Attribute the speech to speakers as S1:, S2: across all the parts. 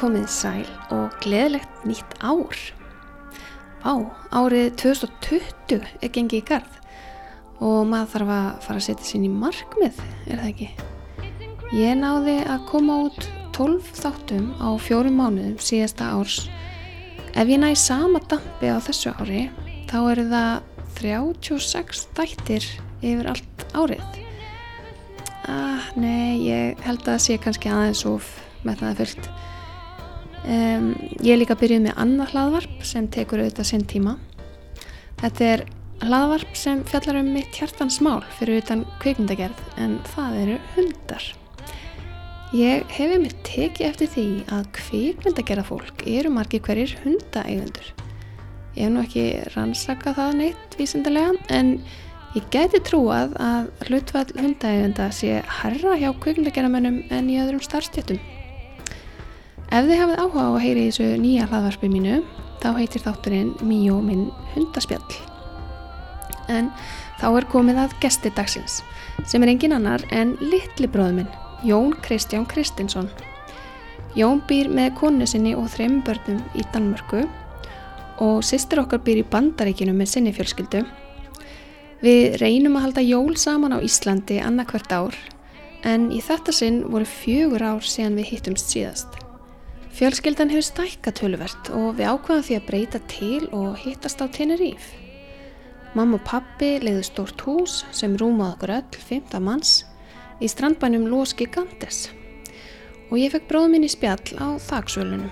S1: komið sæl og gleðilegt nýtt ár. Vá, árið 2020 er gengið í garð og maður þarf að fara að setja sín í markmið, er það ekki? Ég náði að koma út 12 þáttum á fjórum mánuðum síðasta árs. Ef ég næ sama dampi á þessu ári, þá eru það 36 þættir yfir allt árið. Ah, nei, ég held að það sé kannski aðeins of metnaðarfullt. Um, ég er líka byrjuð með annað hlaðvarp sem tekur auðvitað sinn tíma. Þetta er hlaðvarp sem fjallar um mitt hjartans mál fyrir utan kvikmyndagerð en það eru hundar. Ég hef einmitt tekið eftir því að kvikmyndagerðafólk eru margir hverjir hundaeigundur. Ég hef nú ekki rannsakað það neitt vísindilega en ég gæti trúað að hlutvall hundaeigunda sé herra hjá kvikmyndagerðamönnum en í öðrum starfstjættum. Ef þið hafið áhuga á að heyri þessu nýja hlaðvarpi mínu, þá heitir þátturinn Míó minn hundaspjall. En þá er komið að gesti dagsins, sem er engin annar en litli bróður minn, Jón Kristján Kristinsson. Jón býr með konu sinni og þreim börnum í Danmörku og sýstir okkar býr í Bandaríkinu með sinni fjölskyldu. Við reynum að halda jól saman á Íslandi annarkvert ár, en í þetta sinn voru fjögur ár síðan við hittumst síðast. Fjölskyldan hefur stækka töluvert og við ákvaðum því að breyta til og hittast á Teneríf. Mamma og pappi leiðu stórt hús sem rúmaði okkur öll, 15 manns, í strandbænum Los Gigantes. Og ég fekk bróð minn í spjall á þaksvölunum.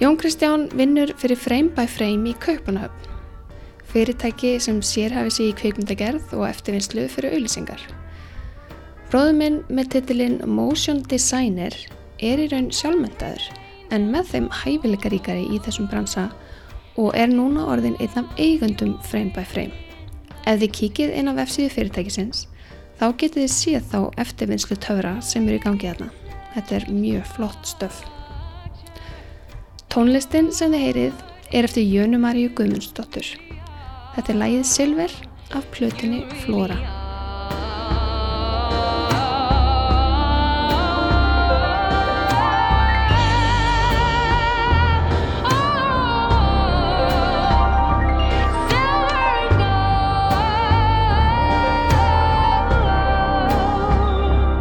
S1: Jón Kristján vinnur fyrir Frame by Frame í Kaupanahöfn, fyrirtæki sem sérhafi sig í kvikmyndagerð og eftirvinnslu fyrir auðlýsingar. Bróður minn með titilinn Motion Designer er í raun sjálfmyndaður en með þeim hæfileikaríkari í þessum bransa og er núna orðin einn af eigundum frame by frame. Ef þið kíkið inn á vefsíðu fyrirtækisins, þá getið þið síð þá eftirvinnslu töfra sem eru í gangi þarna. Þetta er mjög flott stöf. Tónlistin sem þið heyrið er eftir Jönu Maríu Guðmundsdóttur. Þetta er lægið Silver af plötinni Flora.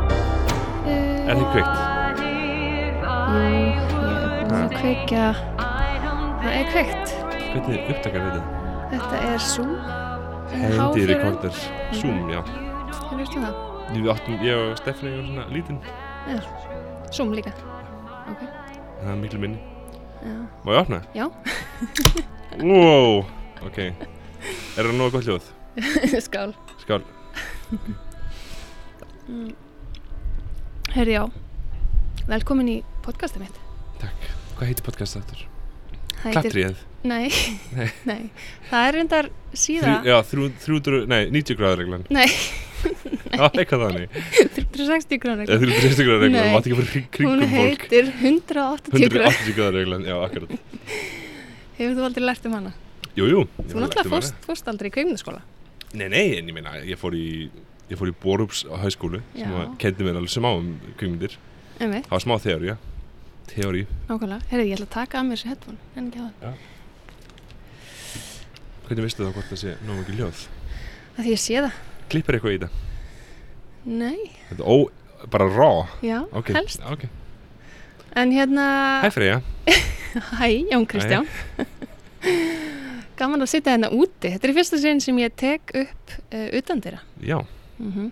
S2: Er þið kveikt?
S1: Jú, ég er búin að kveikja Það er kveikt
S2: Hvernig upptakar við þetta?
S1: Þetta er Zoom
S2: Handy recorder Zoom, já
S1: Hefur þú það?
S2: Við áttum, ég og Stefni og svona lítinn
S1: Já, Zoom líka Ok,
S2: Það er miklu minni
S1: já,
S2: Má ég opna?
S1: Já.
S2: Wow, ok Er það nógu gott hljóð?
S1: skál
S2: Skál
S1: Herri já, velkomin í podcastið mitt
S2: Takk Hvað heitir podcast aftur?
S1: Það heitir-
S2: Klattrið
S1: Nei,
S2: Nei.
S1: nei Það er reyndar síða
S2: Já, þrjú, þrjú, nei, 90 gráður reglan
S1: Nei,
S2: Já, eitthvað þannig
S1: 360 krónur
S2: Eða þrjú, 30 gráður reglan
S1: Nei.
S2: Mátt ekki fara í
S1: Hún
S2: kringum fólk
S1: heitir 180 krónur
S2: 180 gráður reglan, já, akkurat
S1: Hefur þú aldrei lært um hana?
S2: Jú, jú
S1: Þú
S2: um
S1: náttúrulega fórst, fórst aldrei í kveimnaskóla
S2: Nei, nei, en ég meina, ég fór í ég fór í Borups á haugskólu sem
S1: Já.
S2: að kendi mér alveg sem á um kvikmyndir
S1: Einmitt,
S2: það var smá teóri, já teóri,
S1: nákvæmlega Herri, ég ætla að taka af mér þessi headphone En ekki hafa
S2: hvernig veistu þá hvort það sé nóg mikið ljóð
S1: Það því ég sé það
S2: klippar eitthvað í þetta,
S1: Nei,
S2: þetta ó, bara raw
S1: já,
S2: ok,
S1: helst
S2: ok,
S1: En hérna
S2: hæ Freyja
S1: Hæ, Jón Kristján. Gaman að sitja hérna úti. Þetta er í fyrsta sinn sem ég tek upp uh, utan þeirra.
S2: já,
S1: Mm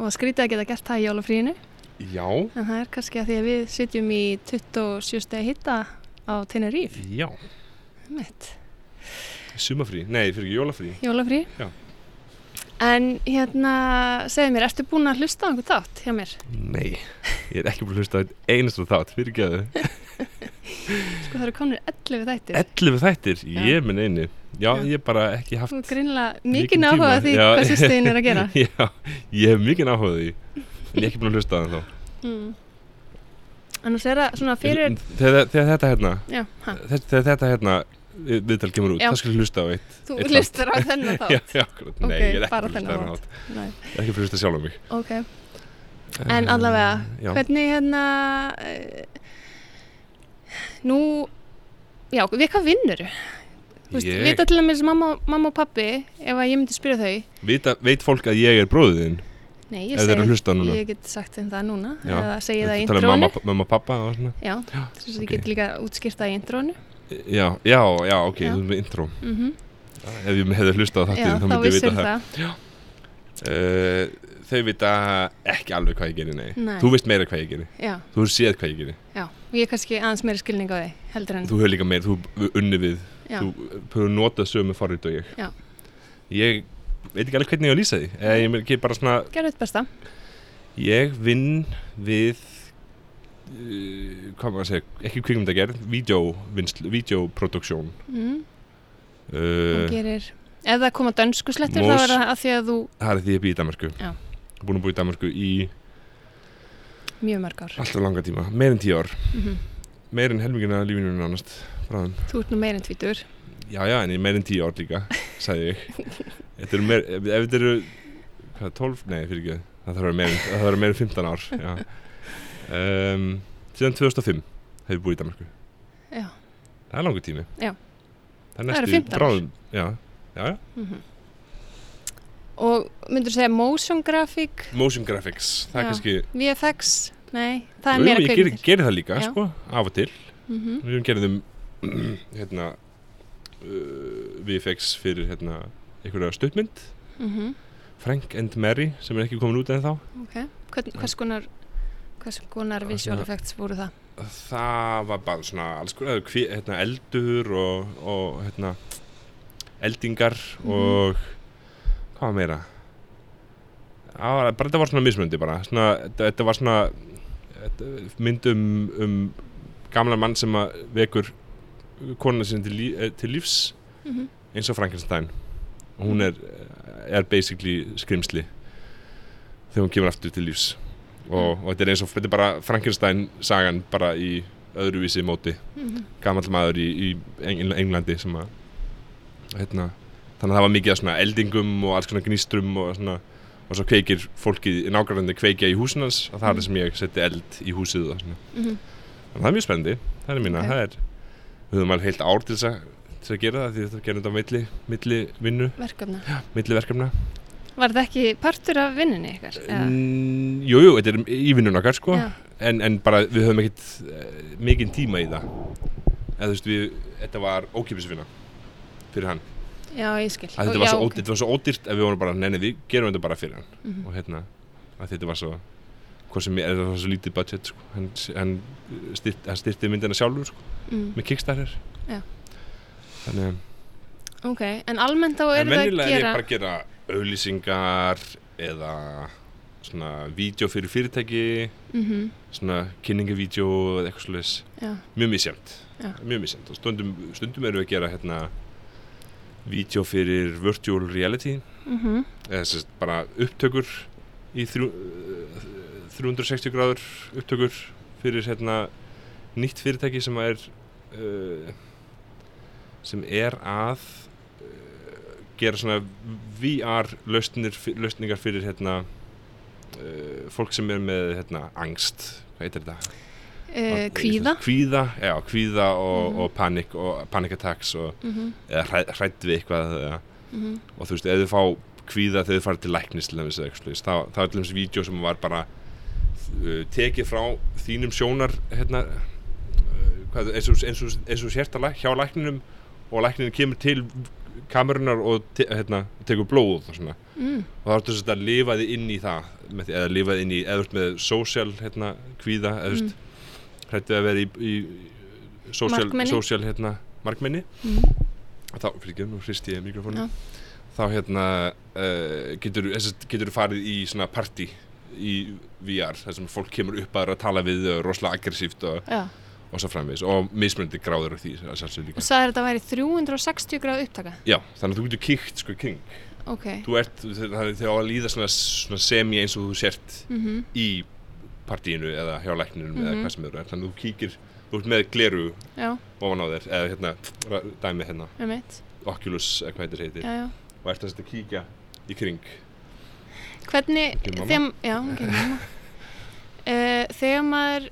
S1: Og skrítið að geta gert það í jólafríinu.
S2: já,
S1: En það er kannski að því að við sitjum í 27 stegi hitta á Teneríf.
S2: já
S1: Mitt,
S2: sumafrí, nei, fyrir ekki jólafrí
S1: jólafrí.
S2: Já.
S1: En hérna, segðu mér, ertu búin að hlusta á einhvern þátt hjá mér?
S2: nei, ég er ekki búin að hlusta á einn einasta þátt, fyrir ekki að þau
S1: Sko það eru komnir 11 þættir.
S2: 11 þættir,
S1: Já.
S2: ég minn einu já,
S1: Já.
S2: ég bara ekki haft
S1: Þú er greinlega
S2: Mikinn
S1: mikið náhuga
S2: tíma.
S1: því
S2: Já.
S1: hvað sýstuðin er að gera.
S2: já, ég hef mikið náhuga því en ég er ekki búin að hlusta á það þá
S1: Mm. Annars er það svona fyrir...
S2: þegar, þegar þetta hérna
S1: Já, hæ?
S2: þegar, þegar þetta hérna vi- viðtal kemur út,
S1: Já.
S2: það skulle hlusta á eitt
S1: Þú
S2: Einn
S1: hlustar á þennan
S2: já,
S1: þátt?
S2: já, akkurat,
S1: Ok,
S2: nei, ég er ekki
S1: bara
S2: að hlusta á
S1: þennan
S2: þennan þátt
S1: Nei,
S2: ég er ekki að hlusta sjálf á mig Eh,
S1: ok. En allavega,
S2: já,
S1: hvernig hérna, eh, Nú, já, við hvað vinnur? Þú veist,
S2: Ég
S1: vita til dæmis mamma, mamma og pappi ef að ég myndi spyrja þau
S2: vita, veit fólk að ég er bróðið þinn
S1: Nei, ég
S2: ef þeir eru að
S1: segi,
S2: hlusta núna
S1: ég get sagt þeim það núna
S2: Já,
S1: eða segi það í
S2: Þetta er
S1: intrónu
S2: mamma, mamma, pappa og svona
S1: Já, þess að
S2: ok.
S1: ég get líka útskýrt það í intrónu
S2: Já, já, já, ok,
S1: Já.
S2: þú erum með intro
S1: mm
S2: Ef ég hefði hlustað á
S1: Já,
S2: þáttið, þá
S1: þá
S2: myndi ég
S1: vissir
S2: vita
S1: það,
S2: það, Uh, Þau vita ekki alveg hvað ég gerir, nei.
S1: Nei.
S2: Þú veist meira hvað ég gerir
S1: Já,
S2: Þú hefur séð hvað ég gerir
S1: já, og ég er kannski aðeins meira skilning á þig heldur en
S2: Þú hefur líka meira, þú hefur unni við
S1: já,
S2: Þú hefur notað sömu forrið og ég
S1: Já.
S2: Ég veit ekki alveg hvernig ég á að lýsa því Eða Ég meina, ég bara svona
S1: gerðu þetta besta
S2: Ég vinn við uh, hvað maður að segja, ekki kvikmyndagerð vídeóvinnslu, vídeóproduksjón
S1: mm,
S2: uh,
S1: og gerir Ef það koma dönsku slettur
S2: Mós-
S1: þá er það að því að þú
S2: það er því ég bý í Danmarku
S1: Já.
S2: búin að búi í Danmarku í
S1: mjög mörg ár
S2: alltaf langa tíma, meir en tíu ár
S1: mm
S2: meir en helmingina lífinu nánast bráðum.
S1: Þú ert nú meira en tvítur
S2: já já, en ég er meir en tíu ár líka sagði ég þetta eru meir, ef ef þetta eru hvað, 12, nei fyrir ekki það þarf að vera meir, en- það þarf að vera meir en 15 ár já. um, síðan 2005 hefur búið í Danmarku
S1: Já,
S2: það er langur tími
S1: Já.
S2: það er
S1: Það eru
S2: næstu
S1: 15 ár.
S2: bráðum já, já, já.
S1: mhm Og myndur segja motion graphic
S2: motion graphics, það er
S1: Já.
S2: kannski
S1: VFX, nei, það er
S2: Jú,
S1: meira
S2: ég geri,
S1: kveikmyndir
S2: geri það líka,
S1: Já.
S2: sko, af og til
S1: Mhm.
S2: Við gerðum hérna uh, VFX fyrir hérna einhverja stuttmynd
S1: Mhm.
S2: Frank and Mary sem er ekki komin út en þá
S1: Ok, Hvern, hvers konar hvers konar visual
S2: svona-
S1: effects voru það?
S2: það var bara svona alls konar hvi- hérna, eldur og, og hérna, eldingar og hvað var meira það var, bara þetta var svona mismundi bara svona, þetta, þetta var svona þetta, mynd um, um gamla mann sem að vekur konuna sinni til, lí, eh, til lífs
S1: Mhm.
S2: eins og Frankenstein og hún er, er basically skrimsli þegar hún kemur aftur til lífs og, og þetta er eins og þetta er bara Frankenstein sagan bara í öðruvísi móti
S1: Mhm.
S2: gamall maður í, í Eng- Englandi sem að hérna, þannig að það var mikið af svona eldingum og alls konar gnýstrum og svona og svo kveikir fólkið í nágrænandi kveikja í húsin hans og það er það sem ég seti eld í húsið og svona
S1: Mhm.
S2: Þannig að það er mjög spennandi, það er mín
S1: Ok.
S2: það er, við höfum alveg heilt ár til þess að, til að gera það því þetta gerum þetta á milli, milli vinnu,
S1: Verkefna
S2: milli verkefna.
S1: Var það ekki partur af vinninni ykkar? Eða-
S2: Mm, Jú, jú, þetta er í vinnun okkar sko,
S1: Já,
S2: en, en bara við höfum ekkit uh, mikinn tíma í það. Eða þú veist, við, þetta var ókipisvinna fyrir hann.
S1: já, ég skil
S2: Að
S1: Og-
S2: þetta var,
S1: já,
S2: svo
S1: ok.
S2: ódýrt, þetta var svo ódýrt að við vorum bara, nei, nei, við gerum þetta bara fyrir hann.
S1: Mhm.
S2: Og hérna, að þetta var svo, hvað sem er þetta var svo lítið budget sko, hann, hann, styrt, hann styrti myndina sjálfur sko,
S1: Mm.
S2: með Kickstarter.
S1: Já.
S2: Þannig að
S1: Ok, en almennt þá
S2: En
S1: eru það
S2: venjulega
S1: að
S2: er ég
S1: gera
S2: bara að gera auðlýsingar eða svona vídeo fyrir fyrirtæki,
S1: Mhm,
S2: svona kynningavídeo eða eitthvað slúðis.
S1: Já,
S2: Mjög misjæmt.
S1: Já.
S2: Mjög misjæmt. Og stundum, stundum erum við að gera hérna vídeo fyrir virtual reality
S1: mhm,
S2: eða sérst bara upptökur í þrjú, eh, 360 gráður upptökur fyrir hérna nýtt fyrirtæki sem er uh, sem er að uh, gera svona VR lausnir, lausningar fyrir hérna uh, fólk sem er með hérna angst hvað heitir þetta?
S1: uh, kvíða
S2: Kvíða, já, kvíða og,
S1: Mhm.
S2: og panik og panic attacks og,
S1: Mhm,
S2: eða hrætt við eitthvað eða
S1: mhm,
S2: og þú veist, ef þau fá kvíða þegar þau fara til læknis til dæmis eða eitthvað slíks, það, það er til dæmis vídeo sem var bara uh, tekið frá þínum sjónar hérna, uh, hvað, eins og, eins og, eins og sérta læk, hjá lækninum og lækninum kemur til kamerunar og te, hérna, tekur blóð og svona
S1: mm,
S2: og það er þess að lifaði inn í það með, því- eða lifaði inn í, eða þú ert með social hérna, kvíða, eða þú veist hrættu að vera í, í í social,
S1: Markmenni.
S2: social hérna, markmenni
S1: mm.
S2: að þá, fyrir ekki, nú hristi ég
S1: Já.
S2: mikrofónu þá hérna uh, getur, getur farið í svona party í VR, þar sem fólk kemur upp að tala við þau og er rosalega aggressíft og,
S1: Já,
S2: og svo framvegis og mismunandi gráður af því að sjálfsögðu
S1: og
S2: líka
S1: sagði þetta væri 360 gráð upptaka
S2: Já, þannig að þú getur kíkt sko í kring
S1: Ok,
S2: þú ert, þannig að það á að líða svona, svona semi eins og þú sért
S1: mhm,
S2: í partíinu eða hjá lækninum eða
S1: Mhm.
S2: hvað sem þú er, þannig að þú kíkir þú ert með gleru
S1: já,
S2: ofan á þér eða hérna, ra- dæmi hérna
S1: með mitt
S2: Oculus, eða hvað þetta heitir
S1: Já, já
S2: og ert þess að kíkja í kring
S1: Hvernig,
S2: Ekki mamma.
S1: þegar, já, ok, Eh, mamma uh, Þegar maður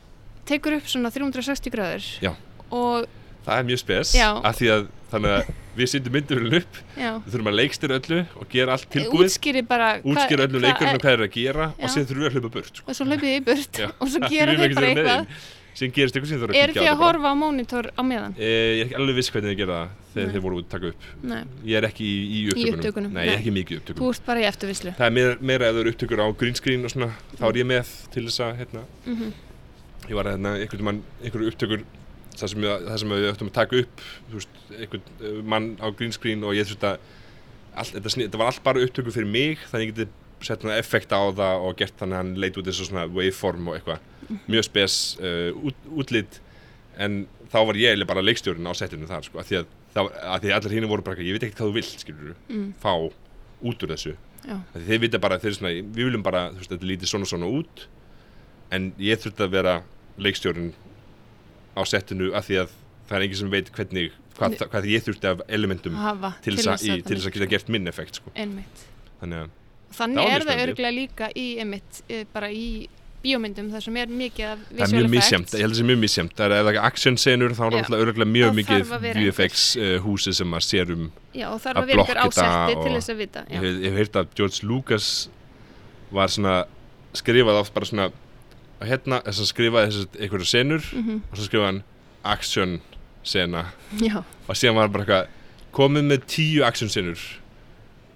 S1: tekur upp svona 360 gráður
S2: Já.
S1: og
S2: það er mjög spes
S1: Já.
S2: af því að þannig að við syndum myndurinn upp
S1: já,
S2: við þurfum að leikstýra öllu og gera allt tilbúið
S1: útskýri bara hvað-
S2: útskýra öllum
S1: hvað
S2: leikurinn
S1: er-
S2: og hvað er að gera
S1: Já.
S2: og síðan þurfum við að hlaupa burt sko.
S1: og svo hlaupið þið í burt
S2: Já.
S1: og svo gera
S2: Við
S1: þið
S2: erum
S1: bara
S2: ekkert með
S1: eitthvað
S2: þeim. síðan gerist eitthvað síðan þurfum við
S1: eru
S2: að
S1: þið
S2: kíkja á
S1: að
S2: þetta bara.
S1: horfa á mónitor á meðan?
S2: Eh, ég er ekki alveg viss hvernig þið gera það þegar
S1: Nei.
S2: þeir voru að taka upp
S1: Nei,
S2: ég er ekki í, í upptökunum,
S1: upptökunum,
S2: Nei, ég
S1: nei.
S2: er ekki mikið í upptökunum
S1: þú ert bara í eftirvislu
S2: það er meira, meira ef þau eru upptökur á green screen og svona þá er ég með til þess að hérna,
S1: mm
S2: ég var að hérna, einhvern mann, einhverju upptökur það sem, ég- það sem við öftum að taka upp þú veist, einhvern eh, mann á green screen og ég þurfti að all, þetta, sni- þetta var allt bara upptökur fyrir mig þannig ég geti sett svona effekta á það og gert þannig að hann leit út eins og svona waveform og eitthvað mjög spes uh, út, útlit en þá var ég eiginlega bara leikstjórinn á settinu þar sko, að því að, það, var- af því að allir hinn voru bara eitthvað, ég veit ekkert hvað þú vilt skilur
S1: Mm.
S2: fá út úr þessu
S1: Já.
S2: Af því þeir vita bara, þeir eru svona, við viljum bara þú veist, þetta lítið svona svona út en ég þurfti að vera leikstjórinn á settinu af því að það er enginn sem veit hvernig hvað,
S1: Nei.
S2: hvað ég þurfti af elementum
S1: hafa
S2: til þess að, í- til þess að geta gert minn effekt sko.
S1: einmitt
S2: þannig að,
S1: þannig
S2: Það var
S1: er
S2: mjög
S1: það
S2: spennandi.
S1: örglega líka í einmitt eh, bara í bíómyndum þar sem er mikið af
S2: það er mjög misjæmt, ég held að það er mjög misjæmt það er eða action senur, þá er
S1: Já.
S2: náttúrulega örgulega mjög
S1: Það
S2: mikið
S1: þarf að vera
S2: VFX uh, húsi sem að sér um
S1: já, og þarf
S2: að
S1: að vera ykkur
S2: blokkita
S1: ásetti til
S2: og-
S1: þess að vita
S2: ég
S1: já,
S2: hef- ég hef heyrt að George Lucas var svona skrifað oft bara svona og hérna, þess að skrifaði þess einhverju senur
S1: Mhm.
S2: og svo skrifaði hann action sena
S1: já,
S2: og síðan var bara eitthvað komið með tíu action senur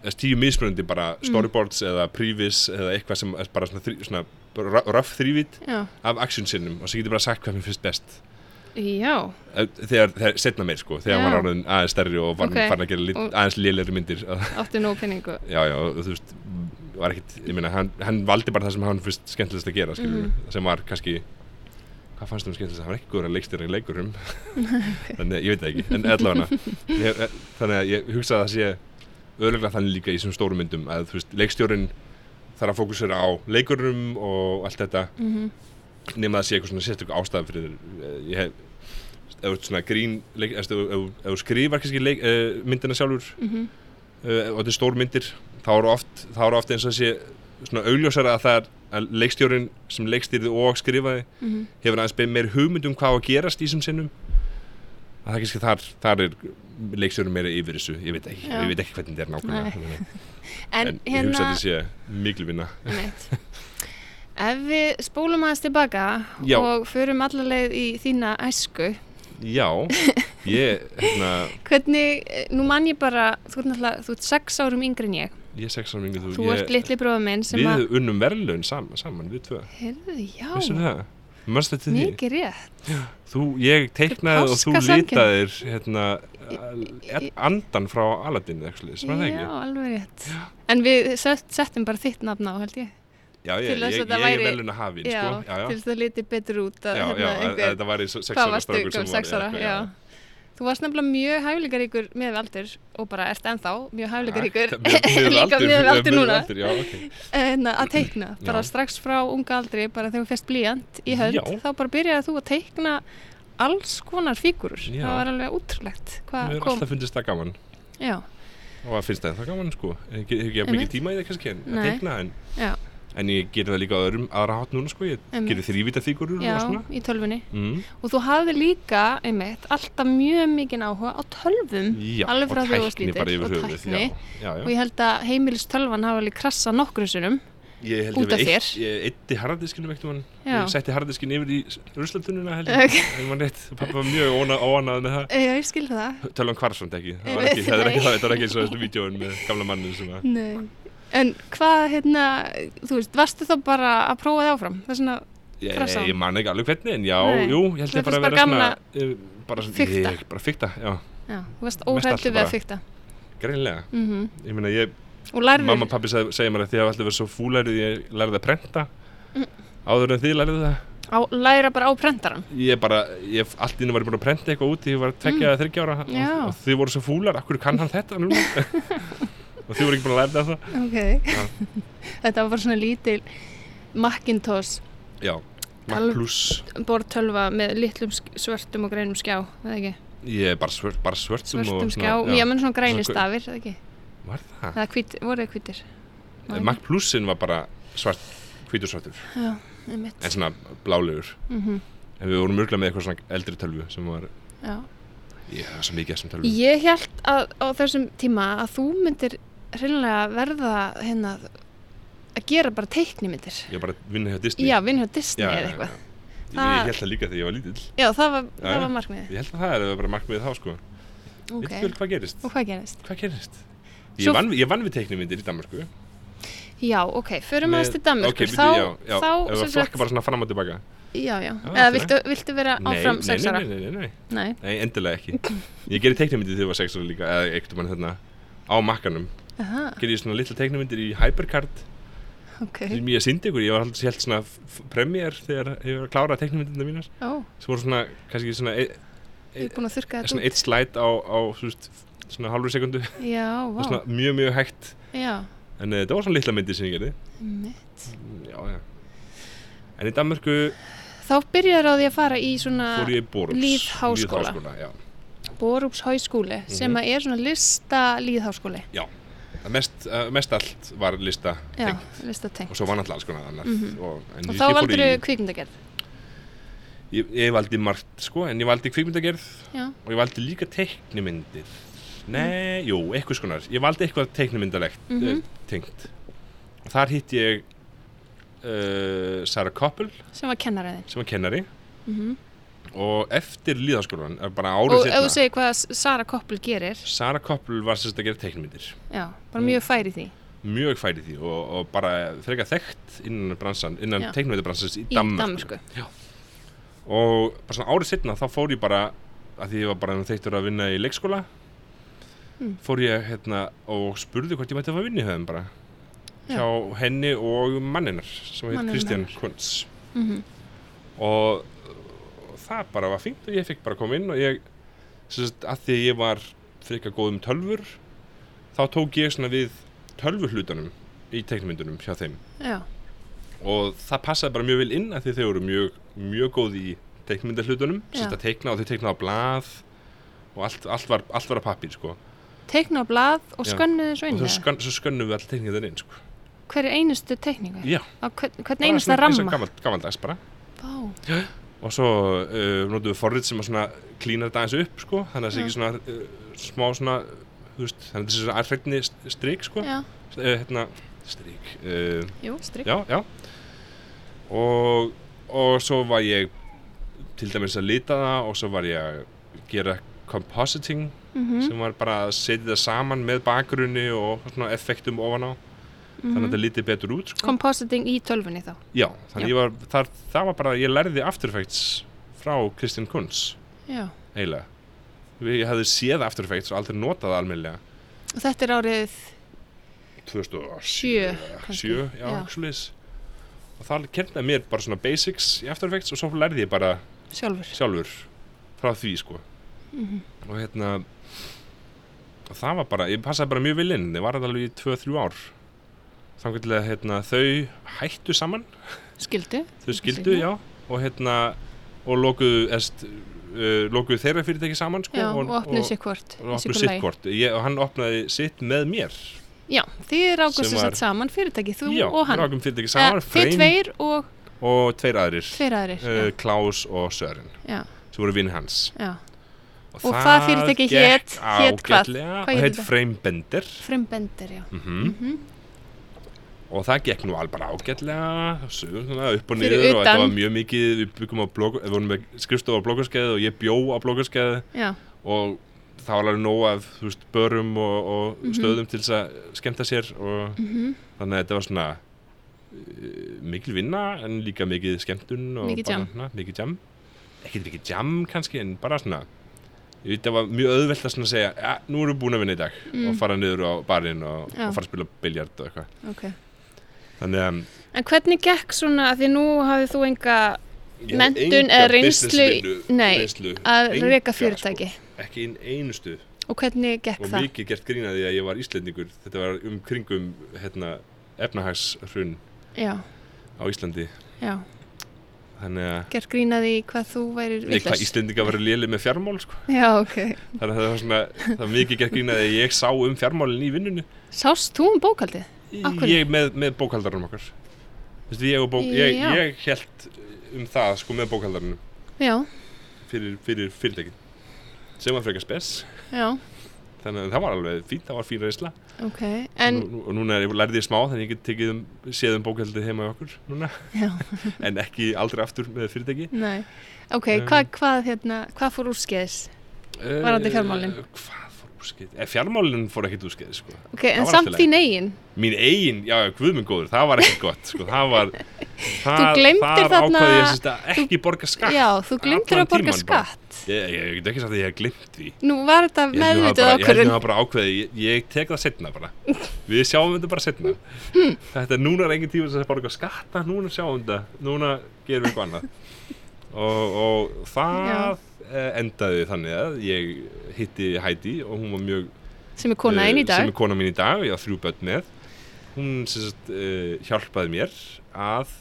S2: þess tíu mismunandi bara
S1: Mhm.
S2: storyboards eða previs eða eitthvað sem er bara svona, þrý, svona bara ra- raff þrývit
S1: já,
S2: af action senum og svo getur bara sagt hvað mér finnst best
S1: já
S2: Eh, þegar, þegar setna meir sko, þegar
S1: Já.
S2: hann var orðin aðeins stærri og var
S1: Ok.
S2: farin að gera lit,
S1: Og-
S2: aðeins lélegri myndir að
S1: áttu nóg penningu
S2: já, já, og þú veist var ekkit, ég meina, hann, hann valdi bara það sem hann fyrst skemmtilegst að gera, skiljum sem var kannski, hvað fannst þú um skemmtilegst hann var ekki góður að leikstýra í leikurum þannig, að ég veit það ekki, en allavega ég, eh, þannig að ég hugsa að það sé öðruglega þannig líka í þessum stórum myndum að þú veist, leikstjórin þarf að fókusera á leikurum og allt þetta
S1: mm
S2: nema að það sé eitthvað svona sérstök ástæðan fyrir þér Eh, ég hef ef þú ert svona grín, leik, ef, þú- ef, ef þú skrifar kannski leik, uh, myndina sjálfur
S1: mhm,
S2: uh, og þetta er stór myndir þá eru oft, þá eru oft eins og sé svona augljósara að það er að leikstjórin sem leikstýrði og skrifaði
S1: Mhm.
S2: hefur aðeins beðið meir hugmynd um hvað á að gerast í þessum sinnum að það er kannski þar, þar er leikstjórin meira yfir þessu, ég veit ekki,
S1: Já.
S2: ég veit ekki hvernig þetta er
S1: Nei.
S2: nákvæmlega Þannig að-
S1: en,
S2: en ég hugsa að
S1: hérna
S2: þetta sé miklu vinna
S1: einmitt ef við spólum aðeins tilbaka
S2: Já.
S1: og förum allarleið í þína æsku
S2: já, ég, hérna,
S1: hvernig, eh, nú man ég bara þú ert náttúrulega, þú ert sex árum yngri en ég
S2: ég er sex ára mingi þú,
S1: þú
S2: ég,
S1: ert litli bróða minn sem að
S2: við unnum verðlaun saman, saman við tvö,
S1: heyrðu,
S2: vissir
S1: já,
S2: það mannstu til því?
S1: mikið rétt
S2: Þú, ég teiknaði og þú
S1: páskasamkennd.
S2: litaðir hérna,
S1: Í-
S2: eh, andan frá Aladdin, actually, sem var það
S1: já,
S2: ekki?
S1: alveg rétt en við sett, settum bara þitt nafn á held ég,
S2: Já, ég,
S1: Til
S2: ég,
S1: þess
S2: ég,
S1: að það
S2: er
S1: væri-
S2: velun að hafin,
S1: já,
S2: sko. Já, já,
S1: til þess að það liti betur út að,
S2: já, já,
S1: hérna,
S2: að- að
S1: einhver,
S2: þetta væri svo- sex
S1: hvað
S2: ára
S1: varstu,
S2: strákur
S1: ykkur
S2: sem var
S1: sex ára já. þú varst nefnilega mjög hæfileikaríkur með aldur og bara ert ennþá mjög hæfileikaríkur líka mjög aldur núna
S2: aldur, já, ok.
S1: en að teikna, bara
S2: Já.
S1: strax frá unga aldri bara þegar þú fyrst blíjant í hönd
S2: Já.
S1: þá bara byrjaði þú að teikna alls konar fígurur
S2: Já.
S1: það var alveg útrúlegt hvað
S2: Mér er
S1: kom
S2: alltaf fundist það gaman
S1: já,
S2: og að finnst það það gaman, sko. Ég hef ekki jafn
S1: Einmitt.
S2: mikið tíma í það kannski en að
S1: Nei.
S2: teikna, en,
S1: já,
S2: en ég gerir það líka á öðrum aðra hátt núna, sko. Ég
S1: Einmitt.
S2: gerir þrývita fígurur
S1: já
S2: og svona.
S1: í tölfunni
S2: Mm.
S1: og þú hafði líka, einmitt, alltaf mjög mikinn áhuga á tölvum
S2: Já,
S1: alveg frá
S2: og
S1: því þú varst
S2: tækni bara
S1: lítill
S2: yfir
S1: og
S2: höfuð,
S1: tækni
S2: já, já, já.
S1: og ég held að heimilistölvan hafa alveg krassa nokkru sinum
S2: Ég held
S1: Út af
S2: ég
S1: þér.
S2: eitt, ég eitti harðiskinum eitt um hann,
S1: Já.
S2: ég setti harðiskin yfir í ruslatununa held
S1: Ok.
S2: ég, ef maður rétt, pappa var mjög óna- óanað með það,
S1: já, ég skil það
S2: tala um hvarfsamt ekki, það var
S1: Nei,
S2: ekki, það er ekki,
S1: nei.
S2: það var ekki eins og þessu vídjóin með gamla mannin sem að,
S1: Nei. en hvað, hérna, þú veist, varstu þá bara að prófa þið áfram það er svona,
S2: ég,
S1: Krassa hann.
S2: ég man ekki alveg hvernig, en já,
S1: Nei.
S2: jú, ég
S1: Mér
S2: held ég bara
S1: finnst
S2: að
S1: bara
S2: vera
S1: gaman
S2: svona, eh, bara svona,
S1: fikta.
S2: ég, bara fykta, já,
S1: já, þú varst
S2: Mest
S1: óhrættu
S2: alltaf
S1: við
S2: bara-
S1: að fykta
S2: greinlega,
S1: mm
S2: ég meina, ég,
S1: og lærður
S2: mamma og pappi seg, segja mér að þið hafa alltaf verið svo fúlærið, ég lærði að prenta,
S1: Mm.
S2: áður en þið lærið það,
S1: á, læra bara á prentaran
S2: ég bara, ég, allt innu var ég búin að prenta eitthvað út þegar ég var tveggja eða þryggja ára og,
S1: Mm. Já.
S2: og þið voru svo fúlar, akkur kann hann þetta nú og þið voru ekki búin að læra þetta
S1: okay.
S2: Já.
S1: þetta var bara svona lítil Macintosh
S2: já, Mac
S1: Alv-
S2: Plus
S1: bortölva með litlum sk- svörtum og grænum skjá eða ekki,
S2: ég er bara, svör, bara svörtum,
S1: svörtum
S2: og
S1: skjá já,
S2: já,
S1: menn svona grænir
S2: Svona-
S1: stafir eða ekki,
S2: var það?
S1: eða hvít, voru það hvítir
S2: Eh, Mac Plusin var bara svart, hvítur svartur
S1: já, einmitt
S2: en svona blálegur
S1: mm
S2: en við vorum örgla með eitthvað svona eldri tölvu sem var
S1: já.
S2: Ég hef svo mikið af þessum tölvum.
S1: Ég held að á þessum tíma að þú myndir hreinlega verða hérna að gera bara teiknimyndir.
S2: Ég var bara að vinna hjá Disney.
S1: Já, vinna hjá Disney eða eitthvað.
S2: Ég,
S1: Það-
S2: ég held það líka þegar ég var lítill.
S1: Já, það var,
S2: Já, já.
S1: það var markmiðið.
S2: Ég held að það er bara markmiðið þá sko.
S1: Ok.
S2: Veitum við hvað gerist?
S1: Og hvað gerist?
S2: Hvað gerist?
S1: Svo-
S2: Ég vann, ég vann við teiknumyndir í Danmarku.
S1: Já, ok, förum
S2: Með-
S1: aðeins til Danmörkur.
S2: Ok, býtu,
S1: Þá-
S2: já, já.
S1: Þá,
S2: Ef það
S1: sem
S2: flakka bara svona fram og tilbaka.
S1: já, já.
S2: Já,
S1: Eða
S2: allt í
S1: viltu, viltu vera áfram
S2: nei,
S1: sex ára?
S2: nei, nei, nei, nei,
S1: nei. Nei.
S2: nei, endilega ekki. Ég gerði teiknumyndir þegar ég var sex ára líka, eða eitthvað mann þarna á makkanum.
S1: Aha,
S2: Gerði ég svona litla teiknumyndir í Hypercard
S1: ok.
S2: sem ég sýndi ykkur. Ég var alltaf held svona f- premier þegar ég var að klára teiknumyndirna mínar.
S1: Ó,
S2: Svo voru svona, kannski svona, e,
S1: ég er búin að þurka þetta út.
S2: svona eitt slæt á, á svona, svona hálfur sekundu.
S1: Já, vá.
S2: Svona mjög, mjög hægt.
S1: Já,
S2: En eh, þetta var svona litla myndir sem ég gerði. Mm,
S1: mitt.
S2: Já, já. En í Danmarku
S1: Þá byrjar á því að fara í svona
S2: fór ég í Borups.
S1: lýðháskóla.
S2: já.
S1: Borups háskóli
S2: Mhm.
S1: sem að er svona lista líðháskóli.
S2: Að Mest, að mest allt var lista
S1: Já,
S2: tengt.
S1: lista tengt.
S2: og svo var náttúrulega alls konar annar
S1: Mhm.
S2: og, en
S1: Og
S2: ég-
S1: þá
S2: ég fór
S1: valdur
S2: í-
S1: þau kvikmyndagerð.
S2: ég, ég valdi margt sko, en ég valdi kvikmyndagerð
S1: Já,
S2: og ég valdi líka teiknimyndir nei, jú, eitthvað skonar ég valdi eitthvað teiknimyndalegt mm
S1: Mhm.
S2: tengt og þar hitt ég uh, Sarah Koppel
S1: sem var kennaraðin.
S2: sem var kennari
S1: Mm
S2: Mhm. og eftir líðaskólan, bara
S1: Og
S2: árið
S1: ef þú
S2: setna
S1: segir hvað S- Sara Koppel gerir,
S2: Sarah Koppel var sérst að gera teiknimyndir
S1: já, bara mjög
S2: Mhm.
S1: færi í því.
S2: mjög færi því og, og bara frekar þekkt innan bransan,
S1: Já.
S2: innan teiknumyndabransans í
S1: Í sko.
S2: Danmark
S1: Danmarku.
S2: og bara svona árið setna þá fór ég bara að því ég var bara þeittur að vinna í leikskóla
S1: Mm.
S2: fór ég hérna og spurði hvort ég mætti að fá vinni hjá þeim bara
S1: Já.
S2: hjá henni og manninar sem heit
S1: Manninum
S2: Kristján Kunz
S1: Mm
S2: og, og það bara var fínt og ég fekk bara að koma inn og ég sem sagt, að því ég var frekar góð um tölfur þá tók ég svona við tölvuhlutunum í teknmyndunum hjá þeim
S1: Já,
S2: og það passaði bara mjög vel inn af því þau voru mjög, mjög góð í teiknmyndahlutunum,
S1: Já.
S2: sérst að teikna og þau teiknaði á blað og allt, allt, var, allt var að pappir sko.
S1: teikna á blað og
S2: Já.
S1: skönnuðu svo inn.
S2: og þau
S1: eða?
S2: skön, svo skönnum við alltaf teikningin inn sko.
S1: Hverju einustu teikningu?
S2: Já.
S1: Á hvern, hvern
S2: Bara
S1: einasta
S2: svona eins og
S1: ramma?
S2: gamall, gammaldags bara
S1: Vá,
S2: og svo uh, notum við forrið sem að svona klínar þetta aðeins upp sko. þannig að það sé ekki svona uh, smá svona þú veist, þannig að það sé svona aðhreinni strik sko.
S1: já,
S2: uh, hérna, strik uh,
S1: jú, strikk.
S2: já, já og, og svo var ég til dæmis að lita það og svo var ég að gera compositing
S1: Mhm.
S2: sem var bara að setja það saman með bakgrunni og svona effektum ofan á þannig að
S1: mhm.
S2: þetta lítið betur út sko.
S1: Compositing í tölfunni þá.
S2: já, þannig
S1: Já.
S2: ég var, þar, það var bara ég lærði After Effects frá Kristján Kunz
S1: Já.
S2: eiginlega ég hefði séð After Effects og aldrei notað það almennilega
S1: Og þetta er árið
S2: 2007
S1: sjö, kannski.
S2: 7, já,
S1: Já.
S2: já. Svoleiðis. og það kernaði mér bara svona basics í After Effects og svo lærði ég bara
S1: sjálfur.
S2: sjálfur frá því sko
S1: Mhm.
S2: og hérna og það var bara, ég passaði bara mjög vel inn ég var þetta alveg í 2-3 ár þannig til að hérna, þau hættu saman
S1: Skildu.
S2: þau skildu,
S1: Signa.
S2: já og hérna, og lokuðu est, uh, lokuðu þeirra fyrirtæki saman sko,
S1: Já, og opnuðu
S2: og,
S1: sér hvort.
S2: og opnuðu sitt hvort ég, og hann opnaði sitt með mér
S1: Já, þið rákust
S2: Sem
S1: þess
S2: var-
S1: að saman fyrirtæki, þú
S2: já,
S1: og hann.
S2: rákum fyrirtæki saman,
S1: Eh, Þið
S2: Frame
S1: tveir og
S2: og tveir aðrir
S1: tveir aðrir.
S2: uh, Klaus og Sören
S1: já, já,
S2: sem voru vinn hans
S1: já. Og það fyrirtæki hét- hét hvað?
S2: ágætlega
S1: Hvað
S2: og
S1: hét
S2: hét
S1: þetta?
S2: Framebender
S1: Frumbender, já.
S2: mm
S1: Mhm.
S2: og það gekk nú alveg bara ágætlega og sögur svona upp og
S1: Fyrir
S2: niður og þetta
S1: utan.
S2: var mjög mikið við byggum á blog, við vorum með skrifstofa á bloggarskeið og ég bjó á bloggarskeið
S1: Já,
S2: og það var alveg nóg af þú veist, börum og, og stöðum til þess að skemmta sér og
S1: Mhm.
S2: þannig að þetta var svona uh, mikil vinna en líka mikið skemmtun og
S1: Mikið
S2: bara
S1: jam.
S2: svona, mikið jam ekkert mikið jam kannski en bara svona ég veit að það var mjög auðvelt að svona segja ja, nú erum við búin að vinna í dag og fara niður á barinn og,
S1: Mm. Já.
S2: og fara að spila biljart og eitthvað
S1: ok.
S2: þannig að
S1: En hvernig gekk svona, af því nú hafið þú enga
S2: ég hef
S1: Menntun
S2: enga
S1: eða reynslu-
S2: businessvinnu-
S1: nei,
S2: reynslu,
S1: að
S2: enga,
S1: reka fyrirtæki
S2: sko, ekki einn einustu
S1: og hvernig gekk
S2: og
S1: það?
S2: mikið gert grínaði að ég var Íslendingur þetta var um kringum hérna, efnahagshrun
S1: Já,
S2: á Íslandi
S1: já,
S2: þannig að
S1: gert grínaði hvað þú værir
S2: Nei, hvað
S1: vitlaus.
S2: Íslendinga var léli með fjármál sko.
S1: Já, ok.
S2: þannig að það var svona það var mikið gert grínaði að ég sá um fjármálin í vinnunni
S1: Sást þú um bókaldið? Af hverju?
S2: ég með, með bókaldarum okkar Vistu, ég, og bók, ég,
S1: Já.
S2: ég held um það sko, með bókaldarunum
S1: Já,
S2: fyrir, fyrir fyrirtækin sem var frekar spes
S1: já,
S2: þannig að það var alveg fínt, það var fín reynsla
S1: ok en,
S2: Nú- nú- og núna er ég lærði ég smá þannig að ég get tekið um, séð um bókaldið heima í okkur núna,
S1: já,
S2: en ekki aldrei aftur með fyrirtæki
S1: nei ok,
S2: Um.
S1: hvað, hvað, hérna, hvað fór úrskeiðis Varðandi fjármálin.
S2: Eh, hvað fór úrskeið? Eh, fjármálin fór ekkit úrskeið sko.
S1: ok, en
S2: var
S1: samt
S2: allt í
S1: þín eigin
S2: mín eigin, já, já, guð minn góður, það var ekkit gott sko. það var það,
S1: gleymdir
S2: þar
S1: þarna-
S2: ákvaði ég sem sagt að ekki borga skatt
S1: já, þú glemtur
S2: Ah, Allan
S1: að borga
S2: tímann bara.
S1: skatt
S2: ég, ég, ég get ekki sagt að ég hef glimt því
S1: nú var þetta
S2: Ég held ég hafi
S1: meðvitað
S2: bara- Ég held ég
S1: okkurinn
S2: hafi bara ákveðið, ég, ég tek það setna bara. Við sjáum þetta bara setna. Þetta er núna er engin tíma sem bara eitthvað skatta, núna sjáum þetta, núna gerum við eitthvað annað. Og, og það Já. endaði þannig að ég hitti Heidi og hún var mjög
S1: sem er kona
S2: eh,
S1: einn í
S2: sem
S1: dag
S2: er kona mín í dag, ég á þrjú börn með. Hún sem sagt, uh, hjálpaði mér að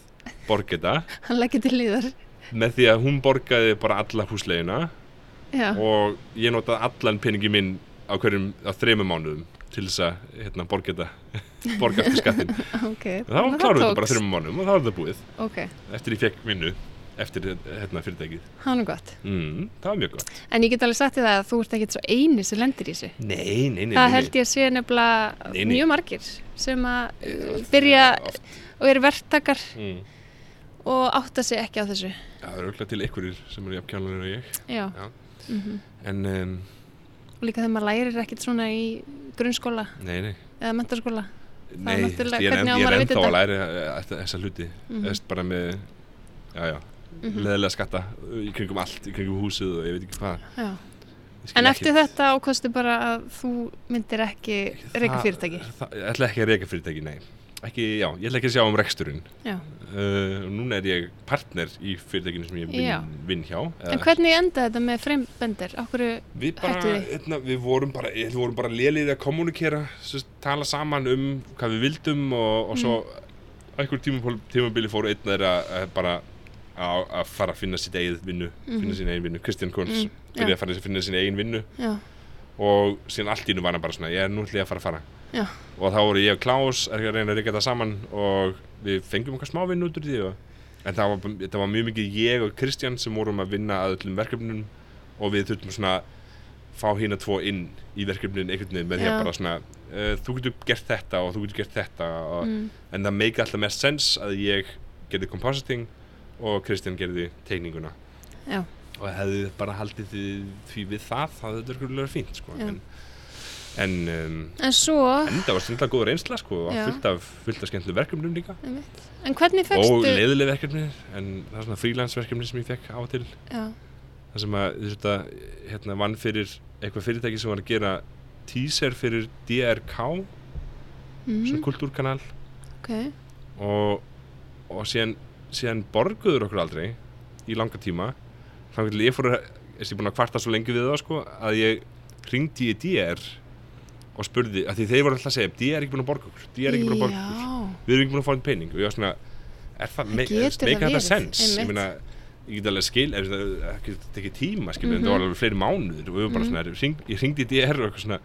S2: borga þetta
S1: hann leggir til liðar
S2: með því að hún borgaði bara alla húslegina
S1: já,
S2: og ég notaði allan peningi minn á hverjum, á þreymum mánuðum til þess að hérna, borga þetta borga eftir skattin og
S1: ok
S2: þá
S1: Þannig að
S2: kláruðu þetta
S1: tókst.
S2: bara þreymum mánuðum og þá var þetta búið
S1: ok,
S2: eftir ég fekk vinnu eftir hérna, fyrirtækið
S1: hann er gott
S2: mm, það var mjög gott
S1: en ég get alveg sagt þér það að þú ert ekkert svo eini sem lendir í þessu
S2: nei, nei, nei,
S1: það
S2: nei,
S1: held ég að sé nefnilega
S2: Nei, Eh, nei.
S1: mjög margir sem að uh,
S2: Oft-
S1: byrja
S2: oft,
S1: og eru verktakar
S2: mm.
S1: og átta sig ekki á þessu
S2: Já, það eru auðvitað til einhverjir sem eru jafnkjánlega en ég
S1: já,
S2: Já.
S1: mhm
S2: en um,
S1: og líka þegar maður lærir ekkert svona í grunnskóla
S2: nei, nei
S1: eða mentaskóla
S2: Nei,
S1: er
S2: þú
S1: náttúrulega
S2: veist, ég
S1: hvernig
S2: er, en,
S1: á
S2: ég
S1: maður
S2: er
S1: að vita
S2: ennþá að
S1: þetta?
S2: læra eh, þetta- þessa hluti mm
S1: Mhm.
S2: bara með já, já, leðilega skatta í kringum allt, í kringum húsið og ég veit ekki hvað
S1: já.
S2: Ég skil
S1: en
S2: ekkert.
S1: eftir þetta ákostu bara að þú myndir ekki reyka
S2: Það-
S1: fyrirtæki
S2: það- Ég ætla ekki að reyka fyrirtæki, nei ekki, já, ég ætla ekki að sjá um reksturinn
S1: já.
S2: uh, og núna er ég partner í fyrirtækinu sem ég
S1: Já.
S2: vinn, vinn hjá
S1: en hvernig endaði þetta með frambendir okkur,
S2: við, bara,
S1: hættu þið?
S2: eitna, við vorum bara við vorum bara lélið að kommunikera sem sagt, tala saman um hvað við vildum og, og
S1: Mm.
S2: svo á einhver tímabili, tímabili fóru einn þeirra að bara að að fara að finna sitt eigið vinnu finna sín eigin vinnu, Kristján Kunz
S1: Mhm, já.
S2: byrjaði að fara að finna sín eigin vinnu
S1: já,
S2: og síðan allt í nú var hann bara svona ég er nú ætla ég að fara að fara
S1: já,
S2: og þá voru ég og Klaus að reyna að reyka þetta saman og við fengum eitthvað smá vinn út úr því og, en það var, það var mjög mikið ég og Kristján sem vorum að vinna að öllum verkefnunum og við þurftum svona að fá hína tvo inn í verkefnin einhvern veginn með því
S1: Já.
S2: að bara svona uh, þú getur gert þetta og þú getur gert þetta og,
S1: Mm.
S2: en það meika alltaf mest sens að ég gerði compositing og Kristján gerði teikninguna
S1: já,
S2: og hefði bara haldið því, því við það þá hefði þetta örgulega fínt sko.
S1: Já.
S2: en, en um,
S1: en svo
S2: En það var svolítið góð reynsla sko og
S1: Já.
S2: fullt af, fullt af skemmtileg verkefnum líka
S1: einmitt. en hvernig
S2: og
S1: fegstu
S2: leiðileg verkefni en það er svona freelance verkefni sem ég fekk á og til
S1: já,
S2: það sem að þetta hérna, vann fyrir eitthvað fyrirtæki sem var að gera teaser fyrir DRK
S1: mm,
S2: svona kultúrkanal
S1: ok
S2: og, og síðan, síðan borguður okkur aldrei í langa tíma þannig að ég fór að ég er búin að kvarta svo lengi við það sko að ég hringdi í DR og spurði, að því þeir voru alltaf að segja DR er ekki búin að borga okkur, DR er ekki búin að borga okkur
S1: já,
S2: við erum ekki búin að fá einn pening og ég var svona, er það, me
S1: getur það
S2: meika þetta
S1: verið,
S2: sens
S1: einmitt.
S2: ég meina, ég get alveg skil ef það ekki tekið tíma, skil, en
S1: Mhm.
S2: það var alveg fleiri mánuður og við varum bara
S1: Mhm.
S2: svona, hring, ég hringdi í DR og eitthvað svona,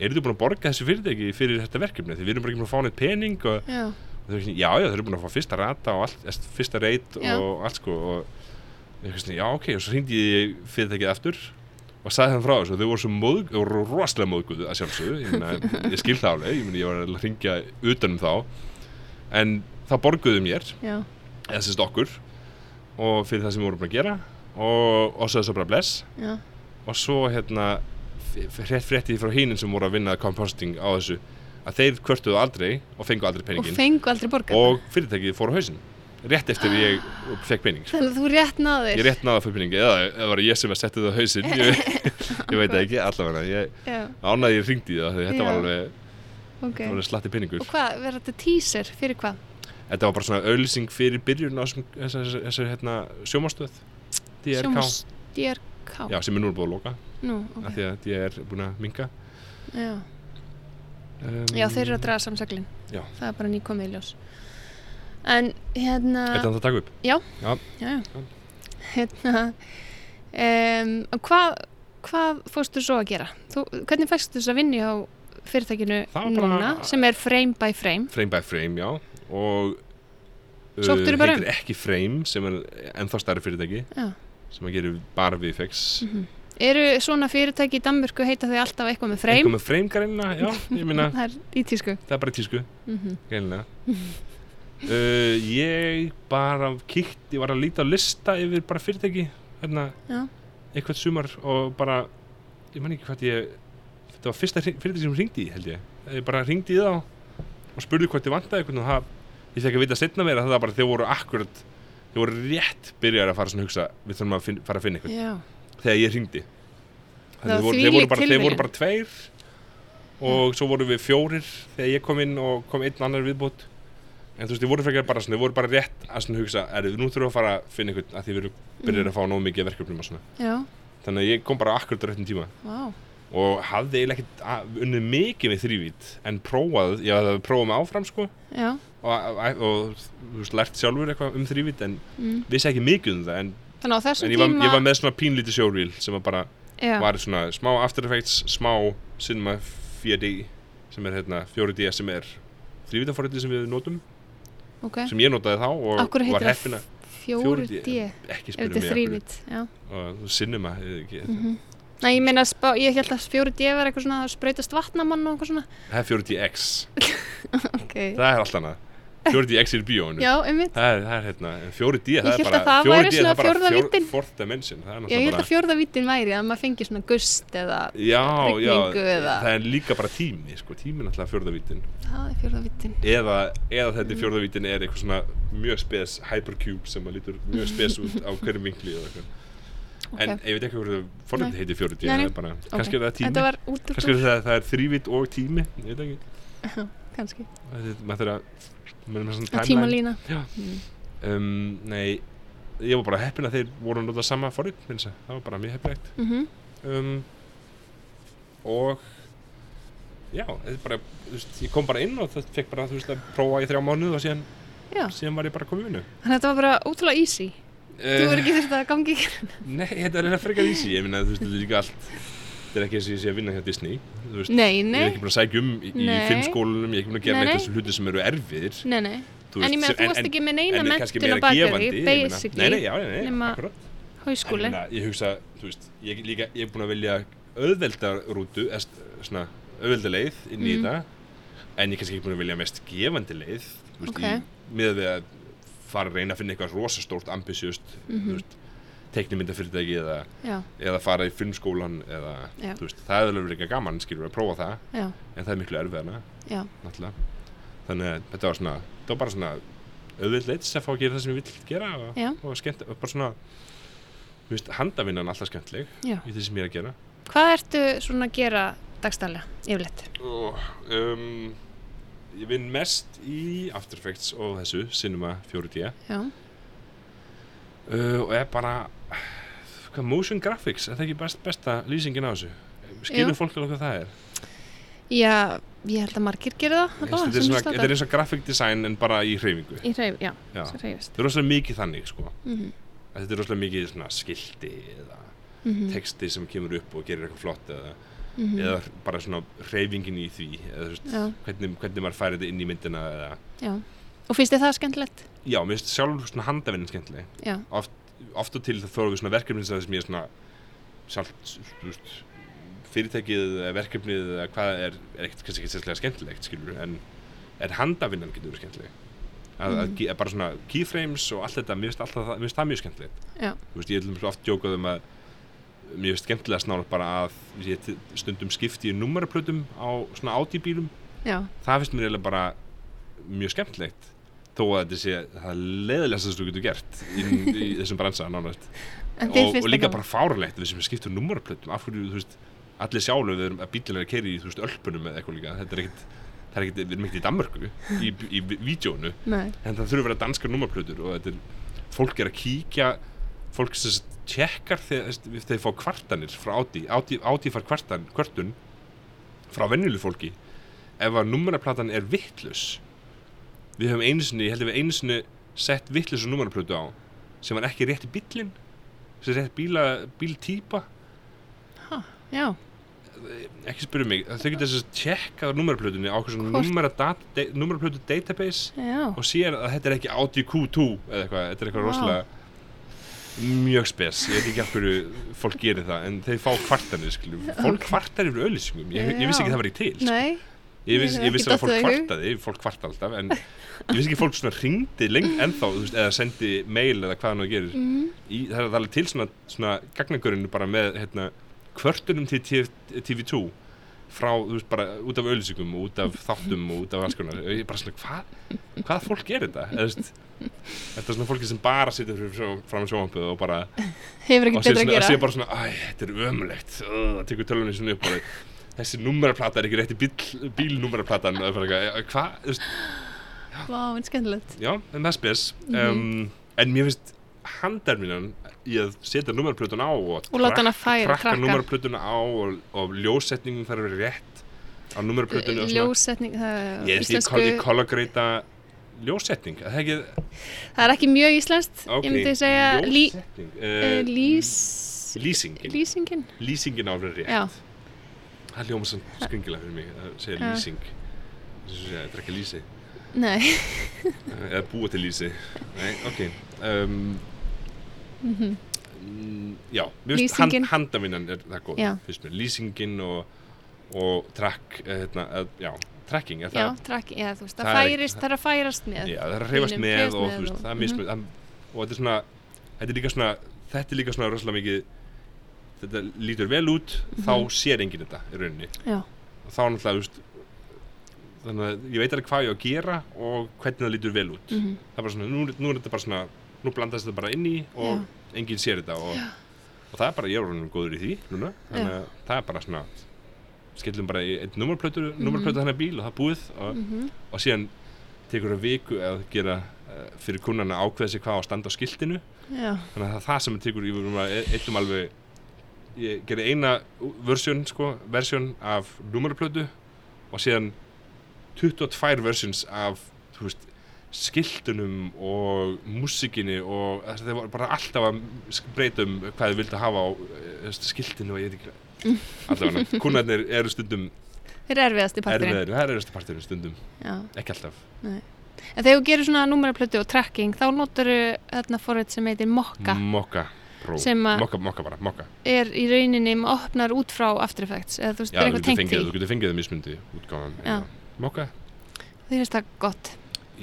S2: eru þið búin að borga þessu fyrirtæki fyrir þetta verkefni, því við erum bara ekki búin að fá neitt pening og
S1: já,
S2: og þau eru svona, já, já, þau eru búin að fá fyrsta rata og allt, est- fyrsta reit
S1: Já.
S2: og allt sko og ég veist, já, ok, og svo hringdi ég fyrirtækið aftur og sagði þeim frá þessu og þau voru svo móð, þau voru rosalega móðguðu að sjálfsögðu, ég meina, ég skil það alveg, ég meina, ég var að hringja utan um þá en það borguðu mér,
S1: já,
S2: eða sérst okkur og fyrir það sem við vorum búin að gera og, og svo þessu bara bless
S1: já
S2: og svo hérna frétt frétti frá hínum sem voru að vinna composting á þessu að þeir kvörtuðu aldrei og fengu aldrei
S1: og
S2: peningin
S1: fengu aldrei borgað
S2: og fyrirtækið fór á hausinn rétt eftir ég fekk pening sko.
S1: þannig að þú rétt náðir
S2: ég rétt náða fyrir peningi eða það var ég sem að setja það á hausinn ég, ég veit það ekki allavega ég
S1: já,
S2: ánaði ég ringdi það því þetta
S1: Já.
S2: var alveg,
S1: ok
S2: okay. alveg slatti peningur
S1: og hvað, verður þetta teaser fyrir hvað
S2: þetta var bara svona auðlýsing fyrir byrjun á þessum- þessari þessar, hérna, sjómastöð DRK
S1: Sjómas- DRK
S2: Já, sem er núna búið að loka
S1: Nú,
S2: af
S1: ok.
S2: því að DR er búin að minga
S1: já.
S2: um,
S1: já, þeir eru að draga samsaklin
S2: Já.
S1: það er bara nýkomið í ljós en hérna
S2: Þetta er það að taka upp
S1: já, já. hérna um, hvað hvað fórstu svo að gera? Þú, hvernig fæstu þess að vinni á fyrirtækinu
S2: Það var bara-
S1: núna sem er frame by frame
S2: Frame by frame, já og uh,
S1: Sóttirðu bara um?
S2: heitir ekki frame sem er ennþá starri fyrirtæki
S1: já.
S2: sem að gera bara VFX
S1: mhm. Eru svona fyrirtæki í Danmörku heita þau alltaf eitthvað með
S2: Eitthvað
S1: freim?
S2: með frame greinina, já, ég minna,
S1: Það er í tísku.
S2: það er bara í tísku,
S1: Mm
S2: greinina. Uh, ég bara kíkt, ég var að líta á lista yfir bara fyrirtæki, hérna,
S1: Já.
S2: eitthvað sumar og bara, ég man ekki hvað ég, þetta var fyrsta hring- fyrirtæki sem hringdi í, held ég. Ég bara hringdi í þá og spurði hvað þið vantaði eitthvað og það, ég fekk að vita setna meira að það var bara, þau voru akkurat, þau voru rétt byrjar að fara svona að hugsa, við þurfum að finn, fara að finna eitthvað.
S1: Já.
S2: þegar ég hringdi
S1: Það var
S2: þeir voru, þeir,
S1: þvílík
S2: voru bara, þeir
S1: tilviljun.
S2: voru bara tveir og svo voru við fjórir þegar ég kom inn og kom einn annar viðbót en þú veist, þeir voru frekar bara svona, þeir voru bara rétt að svona hugsa, er nú þurfum við að fara að finna einhvern að því við erum
S1: Mm.
S2: byrjar að fá nóg mikið af verkefnum og svona,
S1: Mhm. Já.
S2: þannig að ég kom bara akkurat á réttum tíma
S1: Vá.
S2: og hafði eiginlega ekkert að- unnið mikið með þrývít en prófað, ég hafði að prófa mig áfram sko
S1: Já.
S2: og, og, og þú veist, lært sjálfur eitthvað um þrývít en
S1: Mm.
S2: vissi ekki mikið um það en,
S1: Þannig á þessum
S2: en ég, var,
S1: tíma...
S2: ég var með svona pínlítið sjóvíl sem var bara
S1: Já.
S2: var svona smá After Effects, smá Cinema 4D sem er hérna 4D sem er þrývitaforritið sem við notum
S1: Ok.
S2: sem ég notaði þá og
S1: Af hverju heitir
S2: var
S1: það
S2: heppin að
S1: 4D. Er
S2: ekki spyrja
S1: þetta
S2: mig af hverju.
S1: þrývitt? Já.
S2: og Cinema hefði ekki,
S1: Mm Nei, ég meina, að spá, ég held að 4D var eitthvað svona að spreytast vatnamann og eitthvað svona.
S2: það er 4DX
S1: Ok.
S2: það er allt annað 4DX er í bíóinu
S1: Já, einmitt.
S2: það er, það er hérna 4D
S1: Ég
S2: það
S1: hélt að
S2: er bara
S1: það
S2: 4D
S1: væri svona
S2: það er bara
S1: fjórða
S2: fjór-
S1: víddin.
S2: fourth dimension það
S1: Ég
S2: er
S1: held að
S2: náttúrulega bara
S1: fjórða vittin væri að maður fengi svona gust eða
S2: já, já,
S1: rigningu eða-
S2: það er líka bara tími sko, tími er náttúrulega fjórðavítin
S1: það er fjórða vittin.
S2: eða, eða þetta fjórðavítin er eitthvað svona mjög spes hypercube sem að lítur mjög spes út á hverjum vinkli eða eitthvað en ég veit ekki hvað það
S1: Nei.
S2: fornætti heiti fjórðavíti
S1: Nei,
S2: en
S1: nei.
S2: það er bara, kannski er það
S1: Þetta
S2: tími
S1: var út af
S2: kannski er það, það er þrývít og tími ég veit ekki,
S1: kannski.
S2: Þetta- maður þarf að maður er með svona
S1: Að
S2: timeline.
S1: tímalína.
S2: Já.
S1: Mm.
S2: um, nei, ég var bara heppin að þeir voru að nota sama forrið, minnst að það var bara mjög heppilegt
S1: Mhm.
S2: um, og já, þetta er bara þú veist, ég kom bara inn og það fekk bara þú veist að prófa í þrjá mánuð og síðan,
S1: Já.
S2: síðan var ég bara komið vinnu
S1: Þannig að þetta var bara ótrúlega easy.
S2: Eh.
S1: Þú voru ekki þurft að gangi ekki.
S2: Nei, þetta er eitthvað frekar easy, ég minna, þú veist, þetta er líka allt Þetta er ekki eins og ég sé að vinna hjá Disney Þú veist,
S1: Nei,
S2: ég er
S1: nei.
S2: ekki búin að sækja um í, í
S1: Nei.
S2: fimm skólunum Ég er ekki búin að gera
S1: Nei,
S2: neitt
S1: nei.
S2: þessu hluti sem eru erfiðir
S1: Nei, nei.
S2: þú
S1: En ég meina,
S2: sem-
S1: þú varst ekki með neina
S2: en er kannski
S1: menntun á
S2: meira
S1: baki
S2: gefandi,
S1: þig,
S2: ég meina.
S1: basically.
S2: Nei, nei, já, nei, nei,
S1: nema-
S2: akkurat En
S1: Háskóli.
S2: ég meina, ég hugsa, þú veist, ég, er líka, ég er búin að velja auðvelda rútu, eða st- svona, auðvelda leið inn í
S1: Mm.
S2: þetta En ég er kannski ekki búin að velja mest gefandi leið Þú
S1: Ok.
S2: veist, okay. með við að fara að reyna að finna eitthvað rosastórt, ambisjust, þú
S1: Mhm.
S2: veist teiknimyndafyrirtæki eða
S1: Já,
S2: eða fara í filmskólan eða,
S1: Já.
S2: þú veist, það er alveg ekki gaman skilur að prófa það,
S1: já,
S2: en það er miklu erfiðana
S1: já.
S2: náttúrulega, þannig að þetta var svona þetta var bara svona auðvild leitt að fá að gera það sem ég vill gera og,
S1: Já.
S2: og skemmt, og bara svona þú veist, handavinnan alltaf skemmtleg
S1: Já.
S2: í því sem ég er að gera
S1: Hvað ertu svona að gera dagstælega, yfirleitt?
S2: og um, ég vinn mest í After Effects og þessu, Cinema 4D
S1: Já.
S2: uh, og er bara hvað, motion graphics, er það ekki best, besta lýsingin á þessu?
S1: Jú.
S2: Skilur fólk alveg hvað það er?
S1: Já, ég held að margir gera það.
S2: Þetta
S1: allavega, sem
S2: er, svona,
S1: hlusta á
S2: þetta er eins og graphic design en bara í hreyfingu
S1: Í hreyf, já,
S2: Já.
S1: sem hreyfist.
S2: Þetta er rosalega mikið þannig sko.
S1: Mhm,
S2: Að Þetta er rosalega mikið svona skildi eða
S1: mhm,
S2: texti sem kemur upp og gerir eitthvað flott eða,
S1: mhm.
S2: eða bara svona hreyfingin í því eða þú veist,
S1: Já,
S2: hvernig, hvernig maður færi þetta inn í myndina eða
S1: já. Og finnst þið það skemmtilegt?
S2: Já, mér finnst sjálf svona handavinn skemmtileg
S1: Já,
S2: Oft og til það þóra við svona verkefni sem ég er svona sjálft þú veist, fyrirtækið eða verkefnið eða hvað er, er ekkert kannski ekki sérslega skemmtilegt skilur en er handavinnan getur verið skemmtileg að, að,
S1: Mhm.
S2: ge- að bara svona keyframes og allt þetta, mér finnst alltaf það, mér finnst það mjög skemmtilegt
S1: Já.
S2: þú veist, ég er svo oft djókað um að mér finnst skemmtilega snála bara að ég til- stundum skipti í numaraplötum á svona átíbílum
S1: já,
S2: það finnst mér eiginlega bara mjög skemmtilegt þó að þetta sé það leðilegast sem þú getur gert í, í þessum bransa nánast
S1: en
S2: og,
S1: þið finnst
S2: og líka
S1: það
S2: bara fáralegt við sem skiptum numaraplötum af hverju, þú veist, allir sjálu við erum að bílilega keiri í, þú veist, ölpunum eða eitthvað líka þetta er ekkit, það er ekkit, við erum ekkit í Danmörku í, í vídjónu,
S1: Nei,
S2: en það þurfa að vera danskar numaraplötur og þetta er, fólk er að kíkja fólk sem sagt tjekkar þegar þegar þeir fá kvartanir frá áti áti, áti far kvartan, kvartun frá venjuleg fólki ef að numaraplatan er vittlus við höfum einu sinni, ég held að við einu sinni sett vittlusu numaraplötu á sem var ekki rétt í bílinn sem rétt bíla, bíltýpa
S1: já,
S2: ekki spyrja mig, þau geta þess að tjekka numaraplötunni á okkur
S1: Hvort-
S2: svona numaraplötu database
S1: já.
S2: og sér að þetta er ekki Audi Q2 eða eitthvað, þetta er eitthvað
S1: Vá.
S2: rosalega mjög spes, ég veit ekki af hverju fólk gerir það, en þeir fá kvartanir skiljum, fólk
S1: Ok.
S2: kvartar yfir auðlýsingum ég, ég vissi
S1: Já.
S2: ekki að það var í til sko.
S1: Nei,
S2: ég, viss,
S1: ég hef
S2: ég
S1: ekki
S2: vissi að
S1: dottið það
S2: fólk
S1: í hug.
S2: kvartaði fólk kvarta alltaf, en ég vissi ekki að fólk svona ringdi lengt ennþá, þú veist, eða sendi mail eða hvað hann að gerir
S1: mm,
S2: í, það er það er alveg til svona, svona gagnagörinu bara með hérna, kvörtunum til TF TV2 frá, þú veist, bara út af auðlýsingum og út af þáttum og út af alls konar ég er bara svona, hvað, hvað fólk gerir þetta? Eða, þú veist, þetta er svona fólki sem bara situr fyrir sjó, fram sjóampuð og bara
S1: hefur
S2: og
S1: ekkert
S2: sé,
S1: betra að
S2: svona, og sé
S1: gera.
S2: bara svona, æ, þetta er ömulegt það tekur tölunni svona upp og það, þessi numeraplata er ekki rétti bíl, bílnumeraplatan og það er bara eitthvað, hvað, þú veist
S1: Vá, en skemmtilegt.
S2: Já, en það er spes
S1: Mhm.
S2: um, En mér finnst handar mínan í að setja nummerplötuna á og,
S1: Og láta hana færa,
S2: krakka
S1: krakka.
S2: nummerplötuna á og, og ljósetningum þarf að vera rétt á nummerplötunni og svona
S1: Ljósetning, það
S2: Ég
S1: er
S2: veist, ég,
S1: íslensku,
S2: kol, ég kolagreita ljósetning er Það er ekki,
S1: það er ekki mjög íslenskt,
S2: ok,
S1: ég myndi segja lí,
S2: ljósetning
S1: uh,
S2: uh,
S1: lýs,
S2: Lýsingin,
S1: lýsingin,
S2: lýsingin á að vera rétt
S1: já,
S2: Það ljóma svo skringilega fyrir mig að segja
S1: Já.
S2: lýsing Þess að segja, þetta er ekki lýsi
S1: nei,
S2: eða búa til lýsi Nei, ok um,
S1: Mhm.
S2: mm, Já, mér finnst hand,
S1: Lýsingin.
S2: handavinnan er það góð
S1: Já.
S2: finnst mér, lýsingin og, og track eh, hérna, eh, já, tracking er
S1: já,
S2: það,
S1: trakk, já, þú veist, það,
S2: það er ekki-
S1: færist, það er að færast með,
S2: já, það er að reyfast
S1: Bílnum,
S2: með
S1: hreyfast
S2: og
S1: með
S2: þú veist,
S1: og- Mhm.
S2: það er mismið mm og þetta er svona þetta er líka svona, þetta er líka svona rosalega mikið þetta lítur vel út
S1: Mhm.
S2: þá sér enginn þetta í rauninni
S1: já,
S2: og þá náttúrulega, þú veist þannig að ég veit alveg hvað ég á að gera og hvernig það lítur vel út
S1: mhm.
S2: það er bara svona, nú, nú er þetta bara svona nú blandast þetta bara inn í og enginn sér þetta og, og það er bara, ég er orðinum góður í því núna, þannig að það er bara svona skellum bara í einn nummerplötu nummerplötu þannig bíl og það er búið og,
S1: Mhm.
S2: og síðan tekur það viku að gera uh, fyrir kunnana ákveða sig hvað á að standa á skiltinu
S1: já,
S2: þannig að það er það sem tekur ég um að eittum alveg ég gerði eina versjón sko, versjón af numaraplötu og síðan 22 versjóns af þú veist, skiltunum og músikinni og þess að þeir voru bara alltaf að sk- breyta um hvað þið vildu hafa á eh, þess- skiltinu og ég veit ekki allavega, kunnarnir eru stundum
S1: þeir eru erfiðast í parturinn,
S2: erfiðari, það eru erfiðasta parturinn stundum
S1: já,
S2: ekki alltaf,
S1: en þegar þú gerir svona numeraplötu og trekking, þá notar þarna forrið sem heitir mokka,
S2: mokka pró,
S1: Sem að-
S2: mokka, mokka bara, mokka
S1: er í rauninni, maður opnar út frá After Effects, eða þú veist, það er
S2: þú
S1: eitthvað
S2: getur
S1: tengt
S2: fengið, þú
S1: í,
S2: getur fengið það mismundi útgáðan
S1: Já.
S2: mokka
S1: því finnst það gott,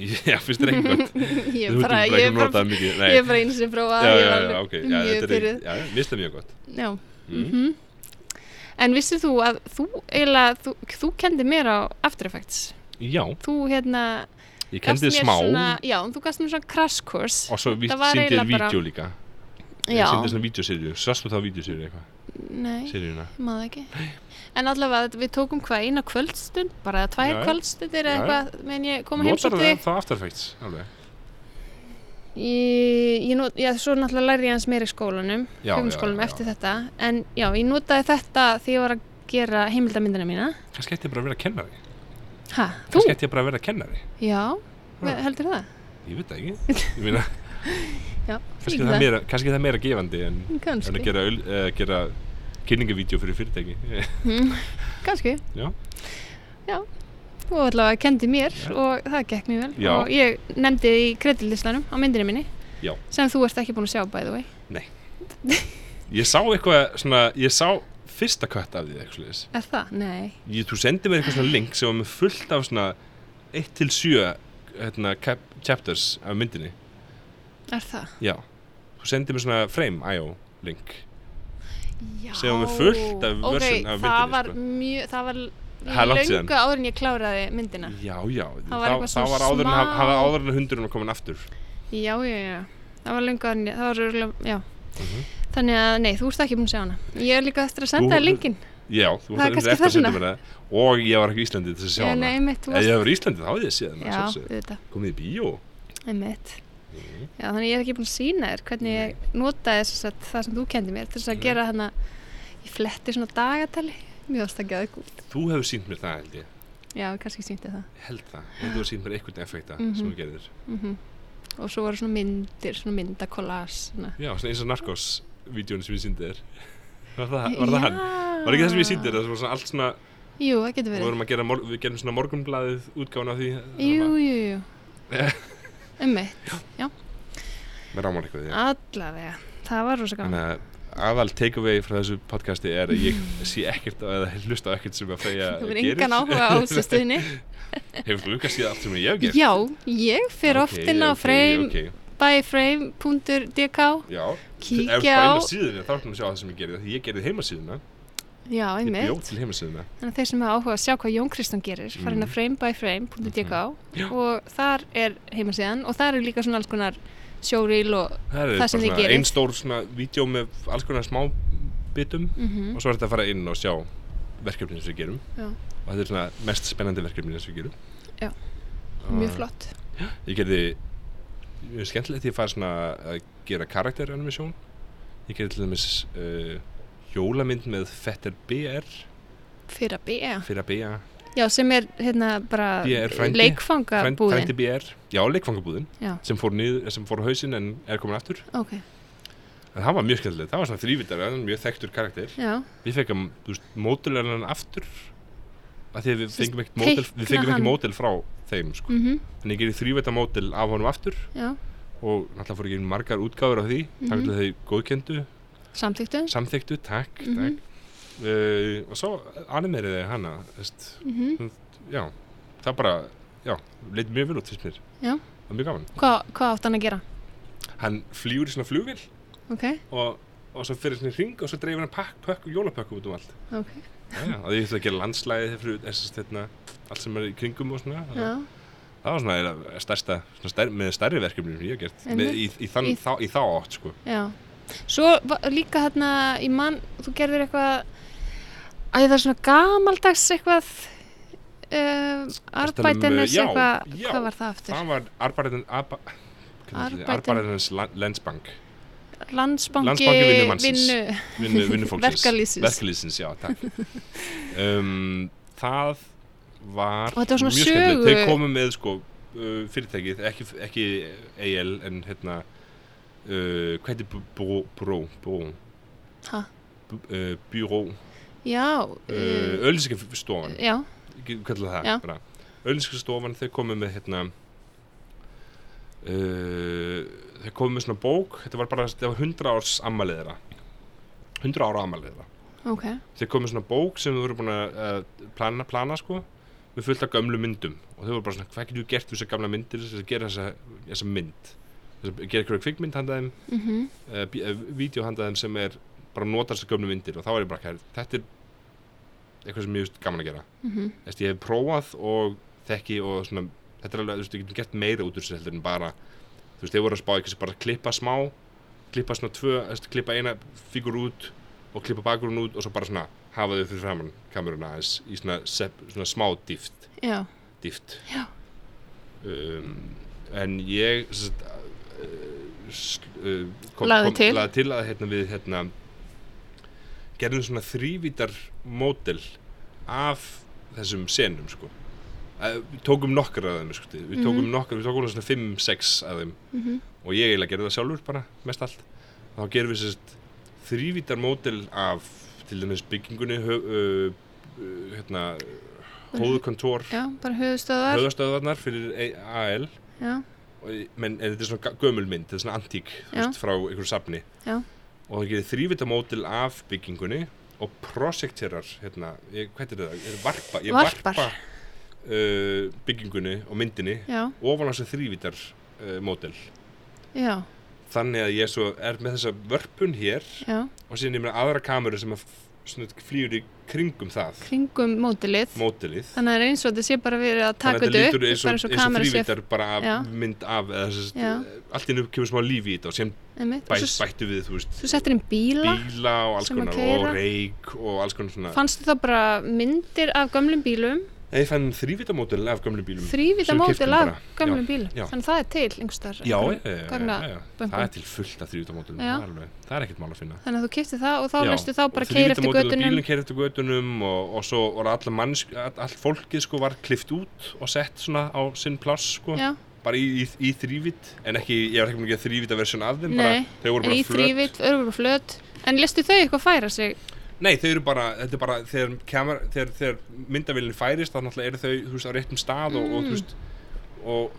S2: Já, finnst þér ekki gott
S1: ég
S2: Þú ert bara ekki að nota það mikið Nei,
S1: Ég er bara eins sem prófað,
S2: já,
S1: ég
S2: já,
S1: var
S2: já,
S1: alveg
S2: ok já,
S1: mjög Mhm.
S2: þetta er-
S1: pyrruð.
S2: Já, mér finnst það mjög gott
S1: Já,
S2: mm.
S1: en vissir þú að þú eiginlega, þú, þú kendi mér á After Effects.
S2: Já,
S1: Þú hérna...
S2: ég kendi
S1: gafst
S2: þið
S1: mér
S2: smá
S1: Svona, já, þú gafst mér svona crash course.
S2: og svo
S1: það var
S2: síndi þér
S1: eiginlega bara-
S2: vídeo líka
S1: já,
S2: Ég síndi svona vídeoserju, sástu þá vídeoserju eitthvað
S1: nei,
S2: Serjuna
S1: maður ekki. En allavega þetta- við tókum hvað eina kvöldstund, bara eða tvær
S2: Já, já.
S1: kvöldstundir eða
S2: Já, já.
S1: eitthvað, menn ég kom að
S2: Notar
S1: heimsótti
S2: það
S1: þig.
S2: þá After Effects, alveg
S1: Ég, ég not, já, svo náttúrulega lærði ég hans meira í skólanum,
S2: Já, já,
S1: hugumskólanum
S2: já,
S1: eftir þetta. En já, ég notaði þetta þegar ég var að gera heimildamindina mína.
S2: Kannski ætti ég bara að vera kennari
S1: Hæ, þú?
S2: Kannski Hm. ætti ég bara að vera kennari
S1: Já,
S2: Ha.
S1: heldur það?
S2: Ég veit það ekki Ég meina,
S1: Já,
S2: kannski, það er meira, kannski það er meira gefandi en, en að
S1: Kanski,
S2: gera, öl- eh, gera kynningavídeó fyrir fyrirtæki
S1: Hm, kannski.
S2: Já.
S1: Já, þú allavega kendi mér
S2: Já.
S1: og það gekk mjög vel
S2: Já.
S1: og ég nefndi þið í kredillislanum á myndinni minni
S2: Já.
S1: sem þú ert ekki búin að sjá by the way.
S2: Ég sá eitthvað svona, ég sá fyrsta kvætt af því eitthvað leis
S1: Er það? Nei.
S2: ég, þú sendið mér eitthvað svona link sem var með fullt af svona 1 til 7 hérna, cap chapters af myndinni
S1: Er það?
S2: já, þú sendið mér svona frame.io link
S1: Já.
S2: Sem var með fullt af versjón af
S1: Ok,
S2: myndinni,
S1: það var
S2: sko.
S1: mjög, það var
S2: Það er langt síðan.
S1: löngu áður en ég kláraði myndina.
S2: já, já,
S1: Það var eitthvað svona
S2: það var áður en,
S1: smá-
S2: það var áður en hundurinn var komin aftur
S1: Já, já, já. Það var löngu áður en ég, það var örgulega, já.
S2: Mhm.
S1: Þannig að, nei, þú ert ekki búin að sjá hana. Ég er líka eftir að senda
S2: Þú-
S1: þér linkin.
S2: já, þú
S1: Það er
S2: varst
S1: kannski
S2: eftir að senda
S1: þess
S2: mér það og ég var ekki í Íslandi til að sjá
S1: Já,
S2: hana
S1: nei, mitt, þú
S2: ef
S1: varst,
S2: ég var í Íslandi þá hefði ég séð hana
S1: já,
S2: sjálfsögðu.
S1: auðvitað.
S2: komið í bíó Mhm.
S1: Einmitt. Já, þannig að ég er ekki búin að sína þér hvernig ég notaði þess að það sem þú kendi mér til þess að
S2: Nei.
S1: gera hana, ég fletti svona dagatali, mjög aðstakjaði gútt.
S2: þú hefur sínt mér það held ég
S1: Já, kannski sýndi það.
S2: Ég held það, Ég held þú hefur sínt mér eitthvað effekta
S1: Mhm.
S2: sem þú gerir
S1: Mm Og svo voru svona myndir, svona myndakollars. Svona.
S2: já, svona eins og narkos vídjón sem ég síndi þér var það, var það hann?
S1: Já.
S2: Var ekki það sem ég sýndi þér, það sem var svona allt svona,
S1: Jú, það getur
S2: við
S1: verið.
S2: vorum að gera, mor- við gerum svona morgunblaðið útgáðan af því.
S1: Jú, jú, jú.
S2: Já.
S1: Einmitt,
S2: Með rámar eitthvað, já.
S1: Ah, allavega. það var rosa gaman.
S2: Þannig að aðal takeaway frá þessu podcasti er að ég sé ekkert eða hlusta á ekkert sem að Freyja
S1: Þú verður
S2: gerir.
S1: engan áhuga á þessu stuðinni.
S2: Hefur þú lukað síðan allt sem ég hef gert?
S1: Já, ég fer
S2: Ok,
S1: oft inn á
S2: ok,
S1: frame,
S2: ok,
S1: byframe.dk,
S2: já. Ef
S1: kíkja
S2: bara
S1: á,
S2: inn á síðuna þá erum við að sjá það sem ég gerði því ég gerði heimasíðuna
S1: já,
S2: ég bjó
S1: einmitt.
S2: til heimasíðuna
S1: Þannig að þeir sem hafa áhuga að sjá hvað Jón Kristján gerir, fara inn á
S2: Mhm.
S1: framebyframe.dk
S2: Já.
S1: og þar er heimasíðan og þar eru líka svona alls konar showreel og,
S2: það er
S1: Það
S2: bara
S1: sem þið
S2: svona
S1: gerið.
S2: einn stór svona vídeo með alls konar smá bitum
S1: mhm,
S2: og svo er þetta að fara inn og sjá verkefnin sem við gerum
S1: Já.
S2: og þetta er svona mest spennandi verkefnin sem við gerum
S1: Já.
S2: Og
S1: mjög flott.
S2: ég gerði mjög skemmtilegt ég fara svona að gera karakter animation ég gerði til dæmis uh, hjólamynd með Fetter BR
S1: Fyrir að BE.
S2: fyrir að BA
S1: Já, sem er hérna bara
S2: BE er frændi.
S1: leikfangabúðin.
S2: Frændi BR já, leikfangabúðin
S1: Já.
S2: sem fór, niður, sem fór á hausinn en er komin aftur
S1: Ok,
S2: En það var mjög skemmtilegt, það var svona þrývittar en mjög þekktur karakter.
S1: já,
S2: Við fengum, þú veist, mótilegan hann aftur af því að við
S1: Sem
S2: fengum ekkert
S1: sagt,
S2: mótil,
S1: teikna
S2: við fengum
S1: hann.
S2: ekki mótil frá þeim, sko.
S1: mhm,
S2: En ég gerði þrývittar mótil af honum aftur
S1: já,
S2: og náttúrulega fór ég inn margar útgáfur á því, mm -hmm.
S1: Mhm.
S2: takkilega þau góðkendu,
S1: samtíktu.
S2: samþyktu, takk,
S1: Mhm.
S2: takk. Uh, og svo animeriði hana, þú veist,
S1: Mhm.
S2: já, það bara, já, leitt mjög vel út fyrst mér.
S1: Já.
S2: Það var mjög gaman.
S1: Hvað hva átt hann að gera?
S2: Hann flýur í svona flugvill
S1: Ok,
S2: og, og svo fyrir svona hring og svo dreifir hann pakk, pakk og jólapökkum út um allt.
S1: ok,
S2: Já, að ég ætla að gera landslæði fyrir þessast hérna, allt sem er í kringum og svona.
S1: já,
S2: Það var svona eiginlega stærsta, svona stær, með stærri verkefni sem ég hef gert, með, í, í, þann,
S1: Í-
S2: Þá, í þá átt, sko.
S1: já. Svo va- líka hérna í mann, þú gerðir eitthvað, að það er svona gamaldags eitthvað, uh,
S2: Ertu að tala um,
S1: arbeitinnes
S2: já,
S1: eitthvað,
S2: já.
S1: hvað var það aftur?
S2: Það var Arbæriðan, Abba,
S1: Arbeiten-
S2: Arbæriðans Lensbank,
S1: Landsbanki,
S2: Landsbanki vinnumannsins.
S1: vinnu-
S2: vinnu, vinnufólksins.
S1: Verkalýðsins.
S2: Verkalýsins, já, takk. um, það var
S1: Og þetta var svona
S2: mjög skemmtilegt.
S1: sögu-
S2: Þau komum með, sko, uh, fyrirtækið, ekki, ekki EL, en hérna, uh, hvað heitir bú- Bú, Bró, Bró,
S1: Ha,
S2: Bú- uh, Búró,
S1: já,
S2: uh,
S1: uh,
S2: Ölýsingastofan
S1: já,
S2: kallar
S1: eh,
S2: það
S1: Já.
S2: bara Ölýsingastofan, þau komu með hérna uh, þau komu með svona bók þetta var bara, þetta var 100 árs ammalið þeirra 100 ára ammalið þeirra
S1: ok,
S2: þau komu með svona bók sem þau voru búin að eh, plana, plana sko við fullt af gömlu myndum og þau voru bara svona, hvað getur við gert við þessar gamla myndir þess að gera þessa, þessa mynd þess að gera eitthvað kvikmynd handaðum
S1: mhm,
S2: uh, vídeohandaðum sem er bara notar þessar gömlu myndir og þá er ég bara hér, þetta er eitthvað sem ég veist gaman að gera
S1: mhm,
S2: Þess, ég hef prófað og þekki og svona, þetta er alveg, þú veist, ég getum gett meira út úr þessu heldur en bara, þú veist, ég voru að spá eitthvað sem bara klippa smá, klippa svona tvö, þú veist, klippa eina fígur út og klippa bakurinn út og svo bara svona hafa þau fyrir framann kameruna aðeins í svona, sepp, svona smá dýft,
S1: já,
S2: dýft.
S1: Já.
S2: Um, en ég, þess að, uh, sl- uh,
S1: Lagði til.
S2: lagði til að hérna við, hérna, gerðum svona þrývítar módel af þessum senum sko Eh, við tókum nokkar af þeim sko. við tókum
S1: Mhm.
S2: nokkar, við tókum alveg svona 5-6 af þeim
S1: mhm,
S2: og ég eiginlega gerði það sjálfur bara mest allt þá gerum við sérst þrývítar módel af til dæmis byggingunni hö, uh, uh, hérna hóðkontor
S1: já, bara höfustöðar,
S2: höðastöðvarnar fyrir E- AL
S1: já,
S2: og ég- menn en þetta er svona ga- gömul mynd, þetta er svona antík þú
S1: Já.
S2: veist, frá einhverju safni
S1: Já.
S2: og það gerir þrývita mótil af byggingunni og projekterar hérna, ég, hvað er það, er varpa ég
S1: Varpar.
S2: varpa uh, byggingunni og myndinni
S1: já,
S2: ofan á þessu þrývitar uh, mótil
S1: já,
S2: þannig að ég svo er með þessa vörpun hér
S1: já,
S2: og síðan ég með aðra kameru sem að f- svona flýur í kringum það
S1: kringum mótilið,
S2: mótilið
S1: Þannig að það er eins og þetta sé bara verið að taka
S2: Þannig að
S1: þetta upp,
S2: lítur eins og, eins og,
S1: kamera sé
S2: þrívítar bara af,
S1: Já.
S2: mynd af eða, sérst,
S1: Já.
S2: allt innu kemur smá lífi í þetta og sem
S1: einmitt,
S2: bæ,
S1: og svo,
S2: bættu við þú veist,
S1: svo settir inn bíla,
S2: bíla og alls
S1: sem að
S2: konar og
S1: keyra.
S2: reik og alls konar svona
S1: fannstu þá bara myndir af gömlum bílum,
S2: Nei, ég fann þrývitamódel af gömlum bílum
S1: þrývita
S2: Sem við
S1: mótil
S2: keyptum
S1: af
S2: bara,
S1: gömlum bílum,
S2: já.
S1: þannig að það er til einhverstaðar,
S2: Já, já, já, já,
S1: gamla
S2: já,
S1: bönkum.
S2: það er til fullt af þrývitamódulum
S1: Já.
S2: það, er alveg- það er ekkert mál að finna
S1: þannig að þú kipti það og þá
S2: Já,
S1: lestu þá
S2: og
S1: bara keir eftir
S2: þrívíddarmódel og
S1: götunum,
S2: Bílinn keir eftir götunum og, og svo og all, mannsk, all, all fólkið sko var klift út og sett svona á sinn pláss sko
S1: já,
S2: bara í, í, í þrývit en ekki, ég var ekki mikið að þrývita versjón af þeim
S1: Nei,
S2: bara, þau
S1: en
S2: voru bara
S1: í
S2: flöt
S1: þrývit, örgur og flöt, en lestu þau eitthvað færa sig,
S2: Nei, þau eru bara, þetta er bara þegar, kamer, þegar, þegar myndavillin færist þá náttúrulega eru þau, þú veist, á réttum stað og, og þú
S1: Mm.
S2: veist, og,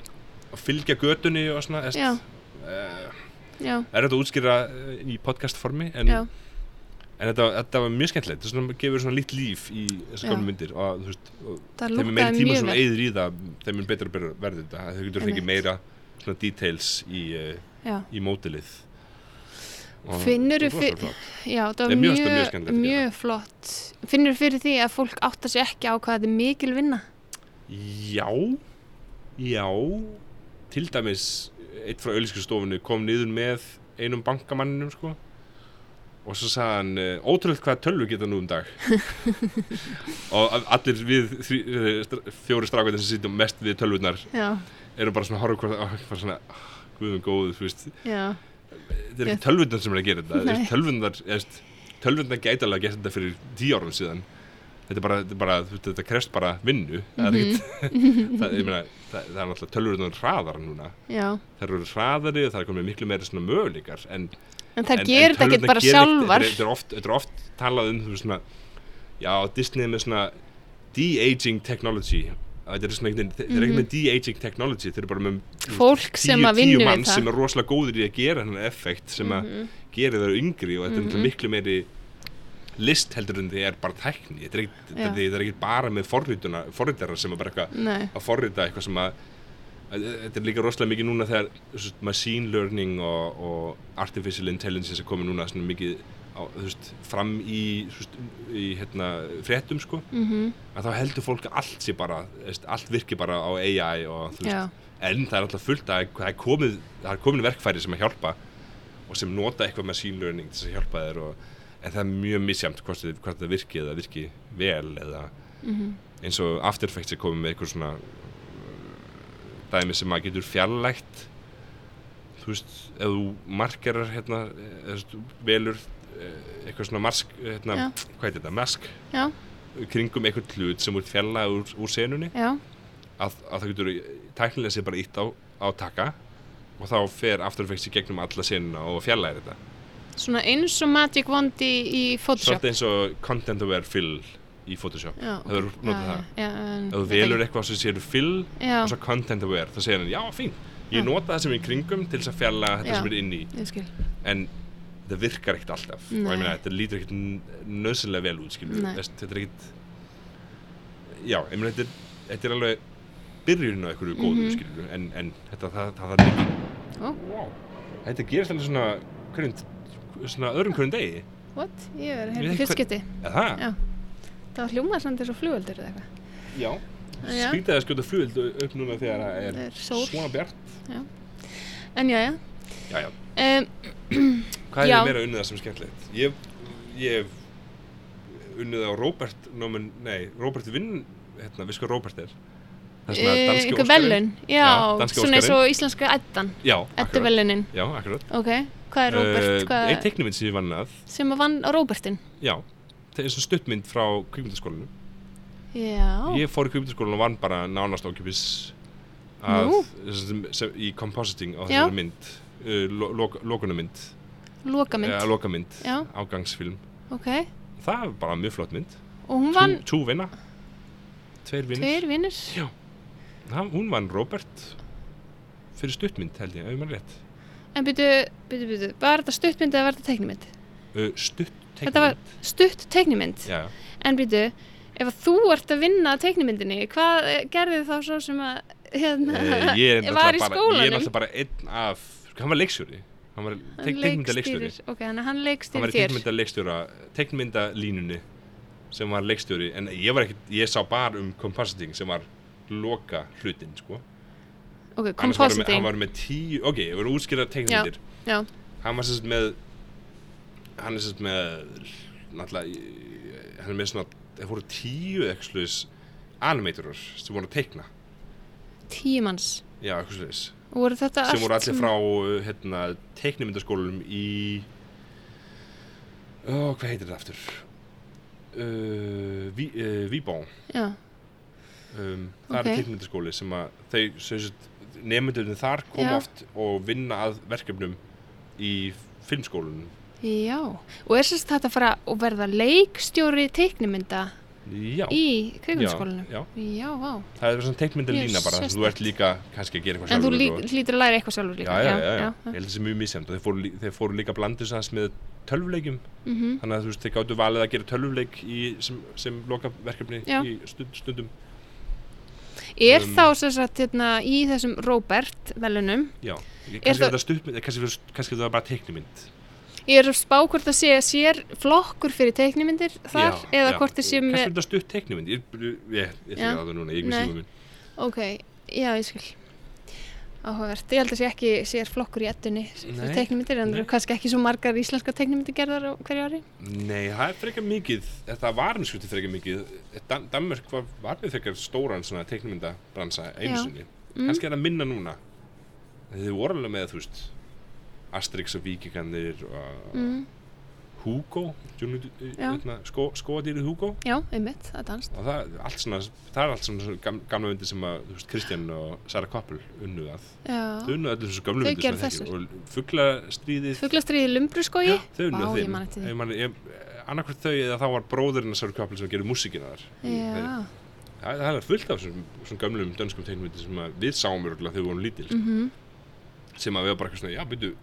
S2: og fylgja götunni og svona,
S1: já,
S2: uh,
S1: já,
S2: er þetta að útskýra eh, í podcast formi en,
S1: já,
S2: en þetta, þetta var mjög skemmtilegt þetta svona, gefur svona lít líf í
S1: Já.
S2: þessar gamlu myndir og, þú veist, og
S1: það
S2: þeim er meira
S1: lúkkaði
S2: tíma
S1: mjög
S2: sem
S1: vel.
S2: eigður í það þeim er betra að verða þetta þau getur fengið
S1: Einmitt.
S2: meira svona details í, eh,
S1: Já,
S2: í mótilið Og-
S1: Finnurðu
S2: og rosa
S1: fyr-
S2: flott.
S1: já, það var
S2: Nei, mér
S1: mjög,
S2: finnst það mjög
S1: mjög,
S2: skemmtilegt að gera
S1: flott. Finnur fyrir því að fólk áttar sér ekki á hvað þetta er mikil vinna?
S2: Já, já, til dæmis eitt frá auðlýskustofinu kom niður með einum bankamanninum sko og svo sagði hann eh, ótrúlegt hvað tölvu geta nú um dag og a- allir við þrý, eh, stra- fjóri strákvæðin sem sittum mest við tölvunar
S1: Já,
S2: eru bara svona að horfa hvort á- bara svona ah, guðum góðu, þú veist
S1: já,
S2: þetta er ekki tölvunar sem er að gera þetta
S1: Nei.
S2: Þú veist, tölvurnar, þú veist, tölvurnar gæti alveg að gera þetta fyrir tíu árum síðan þetta er bara, þetta, er bara, þú veist, þetta krest bara vinnu það
S1: Mhm.
S2: er ekkit það, ég meina, það, það er náttúrulega tölvurnar hraðar núna
S1: já.
S2: þær eru hraðari og það er komið miklu meira svona möguleikar en,
S1: En
S2: en,
S1: það
S2: en
S1: gerir þetta
S2: tölvurnar
S1: ekki bara
S2: gera ekkert-
S1: sjálfar.
S2: þetta er- þetta er, oft- þetta er oft talað um þú veist, svona, já, Disney er með svona de-aging technology Að þetta er svona einhvern veginn, þeir eru ekki með de-aging technology þeir eru bara með þú veist,
S1: Mhm. Fólk sem að vinnur við
S2: mann
S1: það.
S2: sem er rosalega góður í að gera hennar effekt sem að
S1: Mhm.
S2: gerir þau yngri og þetta er
S1: Mhm.
S2: náttúrulega miklu meiri list heldur en þið er bara tækni þetta er
S1: Já.
S2: ekkit- þetta er þetta er ekki bara með forrituna forritara sem er bara eitthvað
S1: Nei,
S2: að forrita eitthvað sem að að- þetta er líka rosalega mikið núna þegar þú veist, machine learning og, og artificial intelligence er komið núna svona mikið á, þú veist, fram í, þú veist, í hérna, fréttum sko
S1: mhm,
S2: að þá heldur fólk að allt sé bara þú veist, allt virki bara á AI og, þú veist,
S1: já,
S2: en það er alltaf fullt að það er komið, það er komin verkfæri sem að hjálpa og sem nota eitthvað machine learning til þess að hjálpa þér og, en það er mjög misjæmt hvort, þið- hvort það virki eða virki vel eða
S1: mhm,
S2: eins og After Effects er komið með eitthvað svona uh, dæmi sem maður getur fjarlægt þú veist, ef þú markerar hérna, eða þú veist, þú velur eh, eitthvað svona mask hérna,
S1: Já.
S2: hvað er þetta, mask
S1: já,
S2: kringum eitthvað hlut sem úr fjarlæg úr, úr senunni
S1: já,
S2: að, að það getur tæknilega sér bara ítt á, á taka og þá fer After Effects í gegnum alla senuna og fjarlægir þetta
S1: svona eins og Magic Wand í, í Photoshop.
S2: svolítið eins og Content Aware Fill í Photoshop
S1: Já,
S2: hefur
S1: ok. Já,
S2: notað það.
S1: Já, en,
S2: ef þú velur eitthvað sem sér fill
S1: Mm, Já,
S2: og svo content aware, þá segir hann, já, fín
S1: Já.
S2: ég nota það sem er í kringum til þess að fjalla þetta
S1: Já.
S2: sem er inn í,
S1: ég skil.
S2: en þetta virkar ekkert alltaf og
S1: Nei.
S2: ég meina, þetta lítur ekkert n- nöðsynlega vel út, skilur
S1: Nei.
S2: Þess, þetta er ekkert já, ég meina, þetta er, þetta er alveg byrjun á einhverju góðu, mm
S1: Mhm.
S2: en, en þetta, það, það, það er ekki
S1: Ó.
S2: wow. þetta gerist alveg svona hverjum, svona öðrum hverjum degi
S1: What? Ég er
S2: Ég veit
S1: hérna
S2: ekki
S1: fyrst
S2: hvað-
S1: geti.
S2: eða það?
S1: Já. Það var hljómað samt eins og flugöldur eða eitthvað.
S2: já
S1: Já.
S2: skrítið að skjóta flugöld upp núna þegar það er,
S1: Það er sól.
S2: svona bjart
S1: En já, já.
S2: já, já,
S1: Um,
S2: Hvað
S1: Já.
S2: hefur meira unnið það sem er skemmtilegt? Ég, ég hef unnið á Robert Nómen, nei, Robert Vinn hérna, við sko Robert er Það er svona
S1: eh,
S2: danski
S1: einhver
S2: Óskarinn.
S1: velun. Já,
S2: Já, danski
S1: svona eins
S2: Óskarinn.
S1: og íslenska Eddan.
S2: Já,
S1: Eddu
S2: akkurat
S1: velunin.
S2: Já, akkurat
S1: Ok, hvað
S2: Eh,
S1: er Eh, Róbert?
S2: Einn
S1: Uh,
S2: teiknumynd sem ég vann að
S1: sem að vann á Róbertin?
S2: Já, það er svona stuttmynd frá kvikmyndaskólanum
S1: Já.
S2: Ég fór í kvikmyndaskólanum og vann bara nánast ákjöpis að, sem, sem, í compositing á
S1: Já.
S2: þessari mynd uh, lo, lo, lokunarmynd
S1: Lokamynd.
S2: eh, lokamynd,
S1: Já.
S2: ágangsfilm
S1: ok,
S2: Það er bara mjög flott mynd
S1: og hún vann
S2: Tú, tú vinna Tveir vinnir
S1: tveir vinnir.
S2: Já. Hann, Hún vann Robert fyrir stuttmynd held ég, ef maður rétt
S1: En byrju, byrju, byrju, var þetta stuttmynd eða var þetta teiknimynd?
S2: uh, Stutt
S1: Þetta var-
S2: teiknimynd.
S1: Stutt teiknimynd.
S2: Já, já.
S1: En byrju, ef að þú ert að vinna að teiknimyndinni, hvað eh, gerði þá svo sem að,
S2: Eh,
S1: hérna,
S2: Ég er
S1: var í
S2: náttúrulega bara, ég er
S1: skólanum?
S2: náttúrulega bara einn af Hann var leikstjóri Hann var
S1: Hann
S2: teik, teiknmynda leikstjóri
S1: leikstýrir- Ok, þannig að hann
S2: Hann var
S1: leikstýri
S2: í
S1: þér.
S2: teiknmynda leikstjóra Teiknmynda línunni sem var leikstjóri En ég var ekkit, ég sá bara um compositing sem var loka hlutinn sko.
S1: Ok,
S2: Annars var hann með- Hann
S1: compositing.
S2: var með tíu, ok, ég var útskýra teiknmyndir
S1: Já,
S2: hann var sérst með hann er sérst með náttúrulega í- hann er með svona, það voru tíu eitthvað sluðis animatorar sem voru að teikna
S1: tíu manns.
S2: já, eitthvað sluðis,
S1: Og voru þetta
S2: sem voru allir frá uh, hérna, teiknimyndaskólum í ó, hvað heitir þetta aftur uh, Ví, uh, Víbón
S1: Já,
S2: um, það okay.
S1: Ok.
S2: er teiknmyndaskóli sem að þau, þau nefndurinn þar koma
S1: Já.
S2: oft og vinna að verkefnum í filmskólunum
S1: já. Og er sérst þetta að fara og verða leikstjóri teiknimynda?
S2: Já,
S1: í
S2: já,
S1: kveikmyndaskólanum.
S2: já.
S1: Já, vá.
S2: Það er svona teikmyndalína
S1: Mjög
S2: bara, þess að þú ert líka kannski að gera
S1: En
S2: eitthvað
S1: þú
S2: sjálfur
S1: lí,
S2: og-
S1: lítur að læra eitthvað sjálfur líka.
S2: já, já, já, já, ég held þessi mjög misjæmt og þeir fóru, lí- þeir fóru líka blandis aðeins með tölvuleikjum
S1: Mhm.
S2: þannig að þú veist, þeir gáttu valið að gera tölvuleik í, sem, sem lokaverkefni
S1: Já.
S2: í stund, stundum
S1: Er
S2: Um,
S1: þá sem sagt hérna í þessum Robert velunum,
S2: já, Ég- kannski
S1: það-
S2: er þetta stuttmynd, kannski, er- kannski er þetta bara teiknumynd
S1: ég er að spá hvort það sé sér flokkur fyrir teiknimyndir þar
S2: já,
S1: eða
S2: já.
S1: hvort það sé
S2: kannski
S1: með,
S2: er þetta stutt teiknumynd ég, ég, ég, ég
S1: Já.
S2: ætla ekki að það núna, ég missi
S1: Nei.
S2: hugum minn
S1: ok, já ég skil. Áhugavert, ég held að sé ekki sér flokkur í ettunni fyrir
S2: Nei,
S1: teiknimyndir en það eru
S2: nei.
S1: kannski ekki svo margar íslenska teiknimyndir gerðar á hverju ári.
S2: Nei, það er frekar mikið, eh, það var mjög skutti frekar mikið eh, Dan Danmörk var, var með frekar stóran svona teiknumyndabransa einu
S1: Já.
S2: sinni
S1: Mm.
S2: kannski er það minna núna En þið voru alveg með, þú veist Asterix og Víkikandir og
S1: Mm.
S2: Hugo Júni,
S1: Já.
S2: hérna, sko, skoadýrið Hugo
S1: Já, einmitt, það er danst.
S2: og það, er allt svona, það er allt svona, svona gam, gamla myndir sem að, þú veist, Kristján og Sara Koppel unnu að þau
S1: Já.
S2: unnu allir þessu gamla
S1: Þau
S2: myndir sem
S1: gerðu
S2: þekkir. og fuglastríðið
S1: Fuglastriði Lumbruskói,
S2: þau
S1: Vá,
S2: unnu að
S1: ég
S2: þeim
S1: man eftir því.
S2: Ég man- ég- annarkvært þau eða þá var bróðurinn að Sara Koppel sem gerði músíkina þar Þeir-
S1: já,
S2: það, það er fullt af svona, svona gamlum dönskum teiknmyndir sem að við sáum örugglega þegar við vorum lítil
S1: mhm,
S2: sem að við bara eitthvað svona, já, byrju,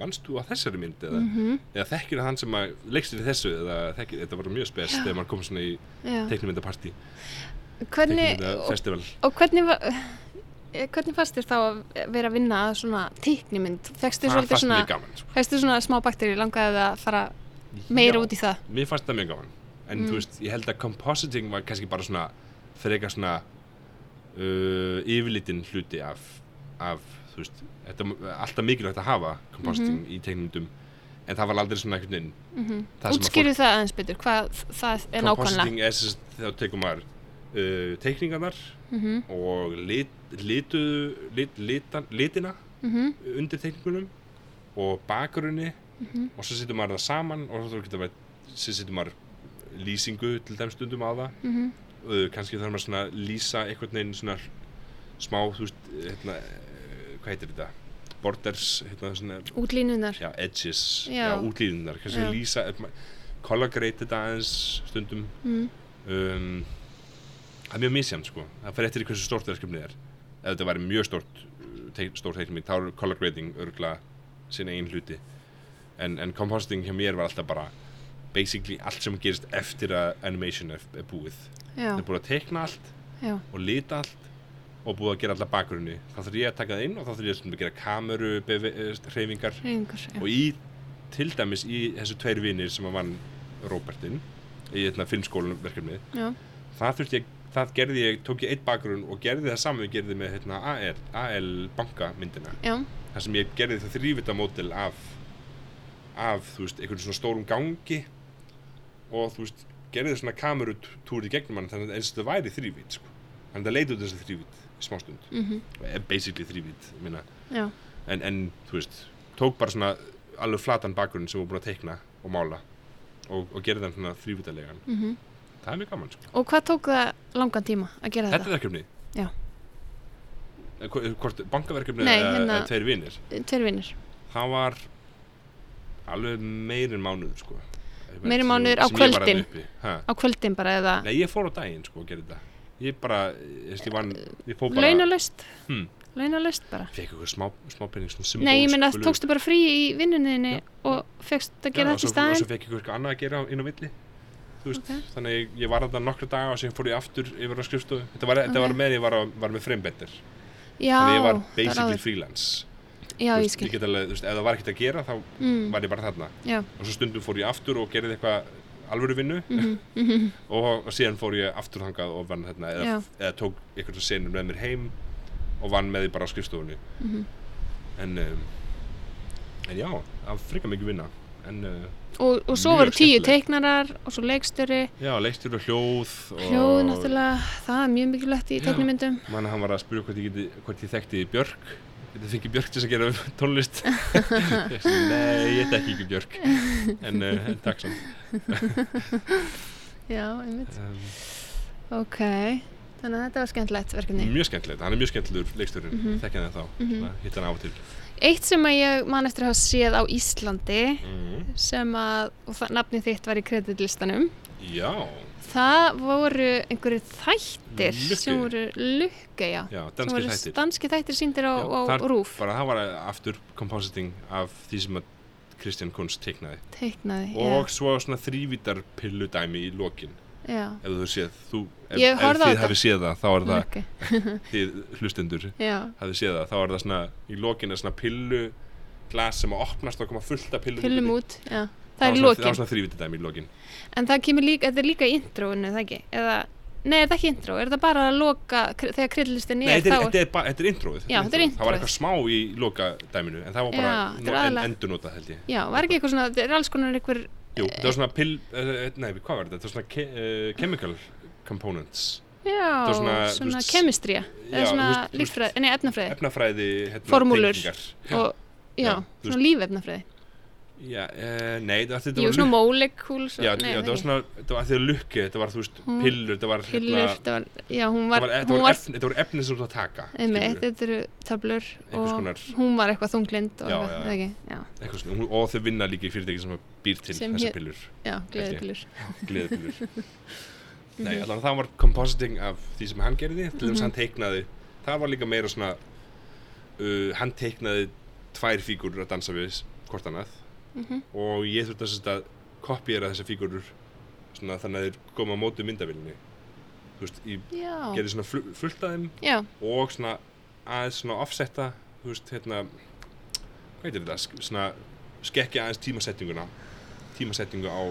S2: vannst þú að þessari mynd eða,
S1: mhm,
S2: eða þekkir hann sem að leikst í þessu eða þekkir, þetta var mjög spes þegar maður kom svona í
S1: já.
S2: teiknumyndapartí,
S1: Hvernig, og-
S2: teiknumyndafestival
S1: Og hvernig, var, eh, hvernig fannst þér þá að vera að vinna að svona teiknimynd? Fekstu
S2: það
S1: svolítið
S2: fannst
S1: svona,
S2: mér gaman sko.
S1: fekstu svona smá bakteri, langaði það að fara meira
S2: Já,
S1: út í það?
S2: mér fannst það mjög gaman en
S1: Mm.
S2: þú veist, ég held að compositing var kannski bara svona frekar svona uh, yfirlitinn hluti af, af þú veist, þetta er alltaf mikilvægt að hafa compositing í teiknumyndum en það var aldrei svona einhvern veginn
S1: Mm
S2: það sem að
S1: Útskýru það aðeins betur, hvað það er nákvæmlega?
S2: compositing er sem sagt, þá tekum maður uh, teikningarnar
S1: Mm -hmm,
S2: og lit, litu, lit, litan, litina
S1: mm -hmm,
S2: undir teikningunum og bakgrunni
S1: Mhm.
S2: og svo setur maður það saman og svo getur maður, svo setur maður lýsingu til þeim stundum á það
S1: mm -hmm.
S2: uh, kannski þarf maður svona að lýsa einhvern veginn svona smá, þú veist, hérna eh, hvað heitir þetta? Borders, hérna svona
S1: Útlínunar?
S2: já, edges,
S1: Já.
S2: já, útlínunar kannski
S1: Já.
S2: lýsa, eh, ma- color-grade þetta aðeins stundum
S1: Mm.
S2: um, það er mjög misjæmt sko það fer eftir í hversu stórt verkefnið er ef þetta væri mjög stórt uh, teik, stórt teiknum þá er color grading örgla sinna einn hluti en, en compositing hjá mér var alltaf bara basically allt sem gerist eftir að animation er, er búið
S1: Já,
S2: það er búið að teikna allt
S1: já,
S2: og lita allt og búið að gera alla bakgrunni þá þarf ég að taka það inn og þá þarf ég stundum að gera kameru bevi, eh, hreyfingar
S1: reyningur, já.
S2: og í, til dæmis í þessu tveir vinir sem að vann Róbertin í hérna, filmskólanum verkefnið
S1: já.
S2: það þurfti ég það gerði ég, tók ég eitt bakgrunn og gerði það saman við gerði með hérna, AL, AL bankamyndina
S1: Já,
S2: þar sem ég gerði það þrývita mótil af af, þú veist, einhvern svona stórum gangi og þú veist, gerði það svona kamerutúr í gegnum hann þannig að eins og það væri þrývit sko. þannig að það leiti út þessi þrývit í smástund
S1: mhm,
S2: Eh, basically þrývit, ég meina
S1: já,
S2: en, en þú veist, tók bara svona alveg flatan bakgrunn sem var búin að teikna og mála og, og gerði þann svona þrývitalegan
S1: mhm.
S2: það er mjög gaman, sko.
S1: Og hvað tók það langan tíma að gera
S2: Þetta
S1: þetta?
S2: verkefni?
S1: Já.
S2: Eh, hvo- Hvort bankaverkefni
S1: Nei,
S2: eða
S1: hérna-
S2: eða tveir vinnir?
S1: Tveir vinnir.
S2: Það var alveg meirinn mánuður sko. Ég veit,
S1: Meira en
S2: sem-
S1: mánuður á
S2: sem ég var
S1: kvöldin?
S2: þarna uppi. Ha.
S1: Á kvöldin bara eða
S2: Nei, ég fór á daginn sko og gerði þetta. Ég bara, ég, veist, ég, vann, ég fór bara,
S1: launalöst?
S2: Hmm.
S1: Launalöst bara?
S2: fekk eitthvað smá, smá penning svona symbols.
S1: Nei, ég meina að tókstu bara frí í vinnunniðinni
S2: Já.
S1: og fegst að gera þetta í
S2: Og
S1: staðin.
S2: svo fekk ég eitthvað annað að gera á- inn á milli. Þú veist,
S1: Ok.
S2: þannig að ég, ég var þetta nokkra daga og síðan fór ég aftur yfir á skrifstofu. Þetta var, þetta
S1: Ok.
S2: var með, ég var, á, var með frembender.
S1: Já,
S2: Þannig að ég var
S1: það er
S2: basically
S1: áður.
S2: freelance.
S1: Já,
S2: Þú
S1: ég
S2: veist,
S1: skil.
S2: ég get alveg, þú veist, ef það var ekkert að gera þá
S1: Mm.
S2: var ég bara þarna
S1: Já,
S2: og svo stundum fór ég aftur og gerði eitthvað alvöru vinnu
S1: mhm, mhm,
S2: og, og síðan fór ég aftur þangað og vann þarna eða,
S1: Já.
S2: eða tók eitthvað senum með mér heim og vann með því bara á skrifstofunni
S1: mhm.
S2: en, um, en já, það var frika mikið vinna en uh,
S1: Og, og svo
S2: Mjög
S1: voru tíu
S2: skemmtilegt.
S1: teiknarar og svo leikstöri,
S2: já, leiktur og hljóð og
S1: hljóð náttúrulega, það er mjög mikilvægt í
S2: Já.
S1: teiknumyndum.
S2: Man að hann var að spyrja hvort ég, geti, hvort ég þekkti Björk Þetta fengi Björk til þess að gera tónlist Ég sagði, Nei, ég þekki ekki Björk En, uh, en takk samt
S1: Já, einmitt.
S2: um,
S1: Ok, þannig að þetta var skemmtilegt verkefni.
S2: Mjög skemmtilegt, hann er mjög skemmtilegur leiksturinn, mm
S1: Mhm.
S2: þekkja það þá, mm
S1: Mhm.
S2: hitt hann á og til.
S1: Eitt sem að ég man eftir að hafa séð á Íslandi
S2: Mm.
S1: sem að, og það, nafni þitt var í kreditlistanum,
S2: Já,
S1: Það voru einhverju þættir
S2: Lukku.
S1: sem voru lukka, já.
S2: já,
S1: Sem
S2: danski
S1: voru
S2: þættir.
S1: Danski þættir síndir á,
S2: Já,
S1: á
S2: þar-
S1: rúf,
S2: Bara það var aftur compositing af því sem að Kristján Kunst teiknaði.
S1: teiknaði.
S2: Og svo svona þrývítar pilludæmi í lokin.
S1: já, já,
S2: Ef þú séð, þú, ef,
S1: Ég
S2: ef
S1: horfði á
S2: þið
S1: þetta. Mhm.
S2: hafi séð það, þá er það,
S1: lukka.
S2: þið hlustendur
S1: Já,
S2: hafi séð það, þá er það svona, í lokin er svona pillu glas sem að opnast og koma fullt af pillum.
S1: pillum
S2: í.
S1: út, já. Það
S2: var
S1: er
S2: svona- Það var
S1: lokin.
S2: svona þrývítardæmi í lokin.
S1: En það kemur líka, þetta er líka í introinu, er það ekki? Eða, nei, er það ekki intro? Er það bara að loka, kr- þegar krillistin
S2: Nei,
S1: er,
S2: þetta er,
S1: þá
S2: þetta er, ba- þetta er introið.
S1: Já, þetta er
S2: Það var
S1: introið.
S2: eitthvað smá í lokadæminu, en það var bara
S1: Já, þetta er
S2: no- en,
S1: aðalega-
S2: endurnota, held ég.
S1: Já, var ekki eitthvað svona, þetta er alls konar einhver,
S2: Jú, þetta var svona pill, uh, nei, hvað var þetta? Þetta var svona ke uh, chemical components,
S1: já,
S2: var
S1: svona,
S2: svona, þú
S1: svona
S2: veist,
S1: kemistrija,
S2: já,
S1: eða svona
S2: þú veist- þú veist-
S1: líffræði, nei, efnafræði
S2: efnafræði, hérna,
S1: Formúlur.
S2: tengingar.
S1: og, já,
S2: Já, þú
S1: svona lífefnafræði.
S2: Já, uh, nei, þetta- þetta
S1: Jú,
S2: var
S1: svona
S2: luk-
S1: molekúls, og-
S2: Já,
S1: nei,
S2: já,
S1: það
S2: þetta var
S1: ekki.
S2: svona, þetta var að því að lukki, þetta var, þú veist,
S1: Hún-
S2: pillur, þetta var,
S1: pillur, þetta var, já, hún var,
S2: Hérna- þetta var, þetta
S1: hún
S2: var,
S1: var,
S2: efni, þetta var efni sem þú ert að taka,
S1: einmitt,
S2: skilurðu,
S1: þetta eru töflur
S2: Einhvers
S1: og
S2: konar-
S1: hún var eitthvað þunglind og
S2: Já,
S1: eitthvað, það
S2: já,
S1: ekki, já,
S2: eitthvað svona, hún- og þau vinna líka í fyrirtæki sem býr til
S1: Sem
S2: þessar
S1: hét-
S2: pillur,
S1: já, gleðuglur.
S2: gleðipillur. nei, allavega það var compositing af því sem hann gerði, til þess að hann teiknaði, það var líka meira svona, uh, hann teiknaði tvær fígurur að dansa við hvort annað,
S1: Mhm.
S2: og ég þurfti að, sérst, að kopiera þessar fígurur svona, þannig að þeir koma á móti myndavillinni þú veist, ég
S1: Já,
S2: gerði svona fl- fullt af þeim
S1: já,
S2: og svona aðeins svona offsetta þú veist, hérna hvað heitir þetta, Sk- svona skekki aðeins tímasettinguna tímasettingu á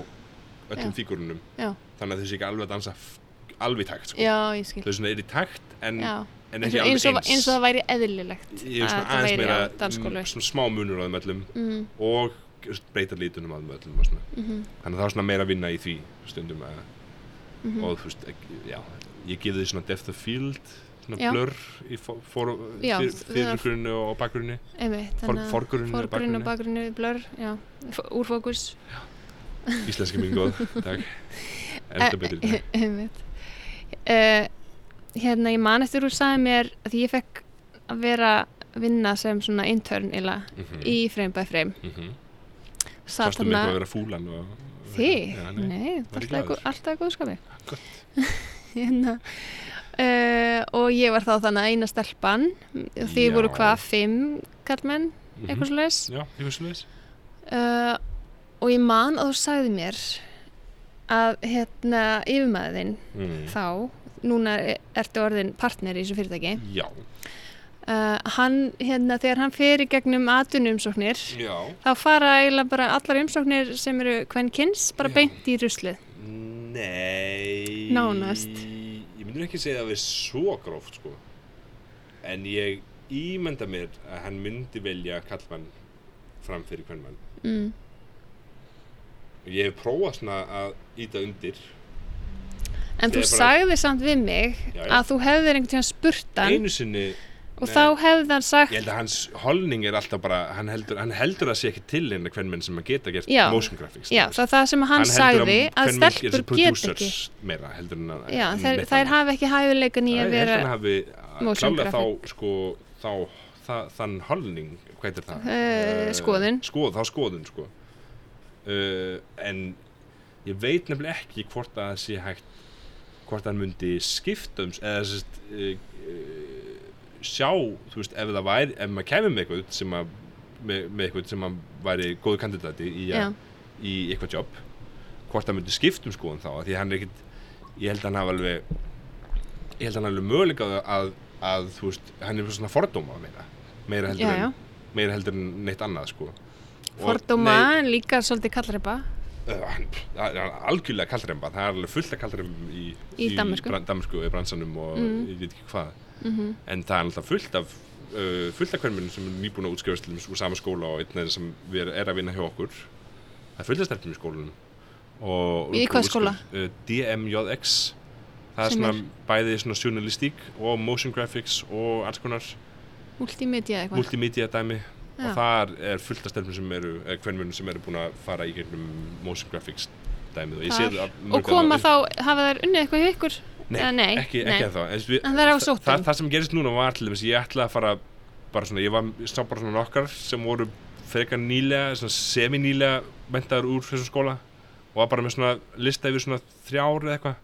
S1: Já.
S2: öllum fígurunum
S1: Já.
S2: þannig að þau sé ekki alveg að dansa f- alveg í takt, sko
S1: já, ég skil,
S2: þau svona er í takt en,
S1: já,
S2: en
S1: eins
S2: ekki
S1: og, eins, og,
S2: alveg eins,
S1: eins og það væri eðlilegt
S2: ég er svona
S1: að það
S2: aðeins
S1: væri
S2: meira
S1: á dansgólfi.
S2: mm, svona smá munur á þeim öllum
S1: mm,
S2: og þú veist, breyta lítunum á þeim öllum og svona
S1: mhm,
S2: þannig að það var svona meira að vinna í því stundum að,
S1: mhm.
S2: og þú veist, ekki, já, ég gefi því svona depth of field svona
S1: Já.
S2: blur í fór, fór,
S1: Já,
S2: fyr,
S1: það-
S2: fyrirgrunni og bakgrunni
S1: einmitt,
S2: for,
S1: þannig að
S2: forgrunni og
S1: forgrunn og
S2: bakgrunni
S1: bakgrunni blör, já, f- úr fókus
S2: íslenski minn góð, takk
S1: Eh,
S2: enda betri í dag.
S1: einmitt uh, hérna, ég man eftir úr sagði mér að því ég fekk að vera að vinna sem svona intern ila
S2: Mhm,
S1: í frame by frame
S2: mhm.
S1: Sat
S2: sástu mig
S1: þarna-
S2: eitthvað að vera fúlan og,
S1: Þig?
S2: Já,
S1: nei,
S2: nei. Var
S1: alltaf,
S2: ég glaður?
S1: góð, alltaf góðskapi.
S2: Gott.
S1: hérna, uh, og ég var þá þannig eina stelpan, því
S2: Já.
S1: voru hvað, fimm kallmenn,
S2: Mhm.
S1: eitthvað svo leis.
S2: já, eitthvað svo leis
S1: og ég man að þú sagði mér að hérna yfirmaðin
S2: mm.
S1: þá, núna er- ertu orðin partner í þessu fyrirtæki,
S2: Mhm. já,
S1: uh, hann, hérna, þegar hann fer í gegnum atunumsóknir,
S2: já
S1: þá fara eiginlega bara allar umsóknir sem eru hvern kynns, bara
S2: Já.
S1: beint í ruslið.
S2: Nei
S1: Nánast.
S2: Ég myndur ekki segja það við svo gróft sko En ég ímynda mér að hann myndi velja kallmann fram fyrir kvennmann
S1: Mm.
S2: og ég hef prófað svona að íta undir
S1: En þú
S2: Ég bara-
S1: sagði samt við mig
S2: Já, já.
S1: að þú hefðir einhvern tíðan spurtan
S2: einu sinni
S1: og
S2: nei.
S1: þá hefði hann
S2: ég held
S1: sagt
S2: að hans holning er alltaf bara hann heldur, hann heldur að sé ekki til hennar kvennmenn sem að geta gert
S1: Já.
S2: motion graphics sko.
S1: Já, það er það sem hann, sagði að
S2: kvenmenn geti
S1: stelpur get
S2: um producers
S1: ekki
S2: meira heldur en að
S1: Já,
S2: en
S1: þær,
S2: neitt
S1: þær
S2: annað.
S1: hafi ekki hæfileikan í
S2: Já,
S1: að
S2: ég held
S1: vera
S2: að hann hafi að
S1: motion
S2: klálega þá sko þá það, þann holning hvað heitir það?
S1: Eh, skoðun.
S2: skoð, þá skoðun sko uh, en ég veit nefnilega ekki hvort að það sé hægt hvort hann myndi skipta um eða sérst uh, uh, sjá, þú veist, ef það væri ef maður kemur með eitthvað sem að með, með eitthvað sem að væri góðu kandidati í,
S1: Já,
S2: að, í eitthvað jobb hvort hann myndi skipta um skoðun þá af því að hann er ekkit, ég held að hann hafa alveg ég held að hann hafi alveg möguleika að, að, að þú veist, hann er svona fordóma meira, meira heldur
S1: já, já.
S2: en meira heldur en neitt annað sko Og-
S1: Fordóma,
S2: nei,
S1: en líka svolítið kallaripa
S2: Uh, hann, það er algjörlega kallremba það er alveg fullt af kallremb í,
S1: Í Danmörku.
S2: bran, Danmörku og í bransanum og
S1: Mm.
S2: ég veit ekki hvað
S1: mm -hmm.
S2: en það er alltaf fullt af uh, fullt af hverjum sem er nýbúin að útskrifast til dæmis úr sama skóla og einn þeirra sem við er að vinna hjá okkur það er fullt af stelpum í skólanum og,
S1: Í hvað skóla?
S2: Uh, DMJX það er
S1: Sem
S2: svona
S1: er?
S2: bæði svona journalistík og motion graphics og alls konar
S1: Multimedia eitthvað
S2: multimedia dæmi
S1: Já.
S2: og þar er fullt af stelpum sem eru eða hvernvunum sem eru búin að fara í gegnum motion graphics dæmið og ég sé
S1: Þar.
S2: það að
S1: Og
S2: mörg
S1: koma
S2: að-
S1: þá, hafa þær unnið eitthvað hjá ykkur
S2: Nei,
S1: Eh, nei,
S2: ekki,
S1: nei.
S2: ekki að það
S1: En það er um. á sóttum.
S2: það, það sem gerist núna var allir ég ætlaði að fara bara svona, ég, var, ég sá bara svona nokkar sem voru frekar nýlega, svona seminýlega mentaður úr þessum skóla og og var bara með svona lista yfir svona þrjár eða eitthvað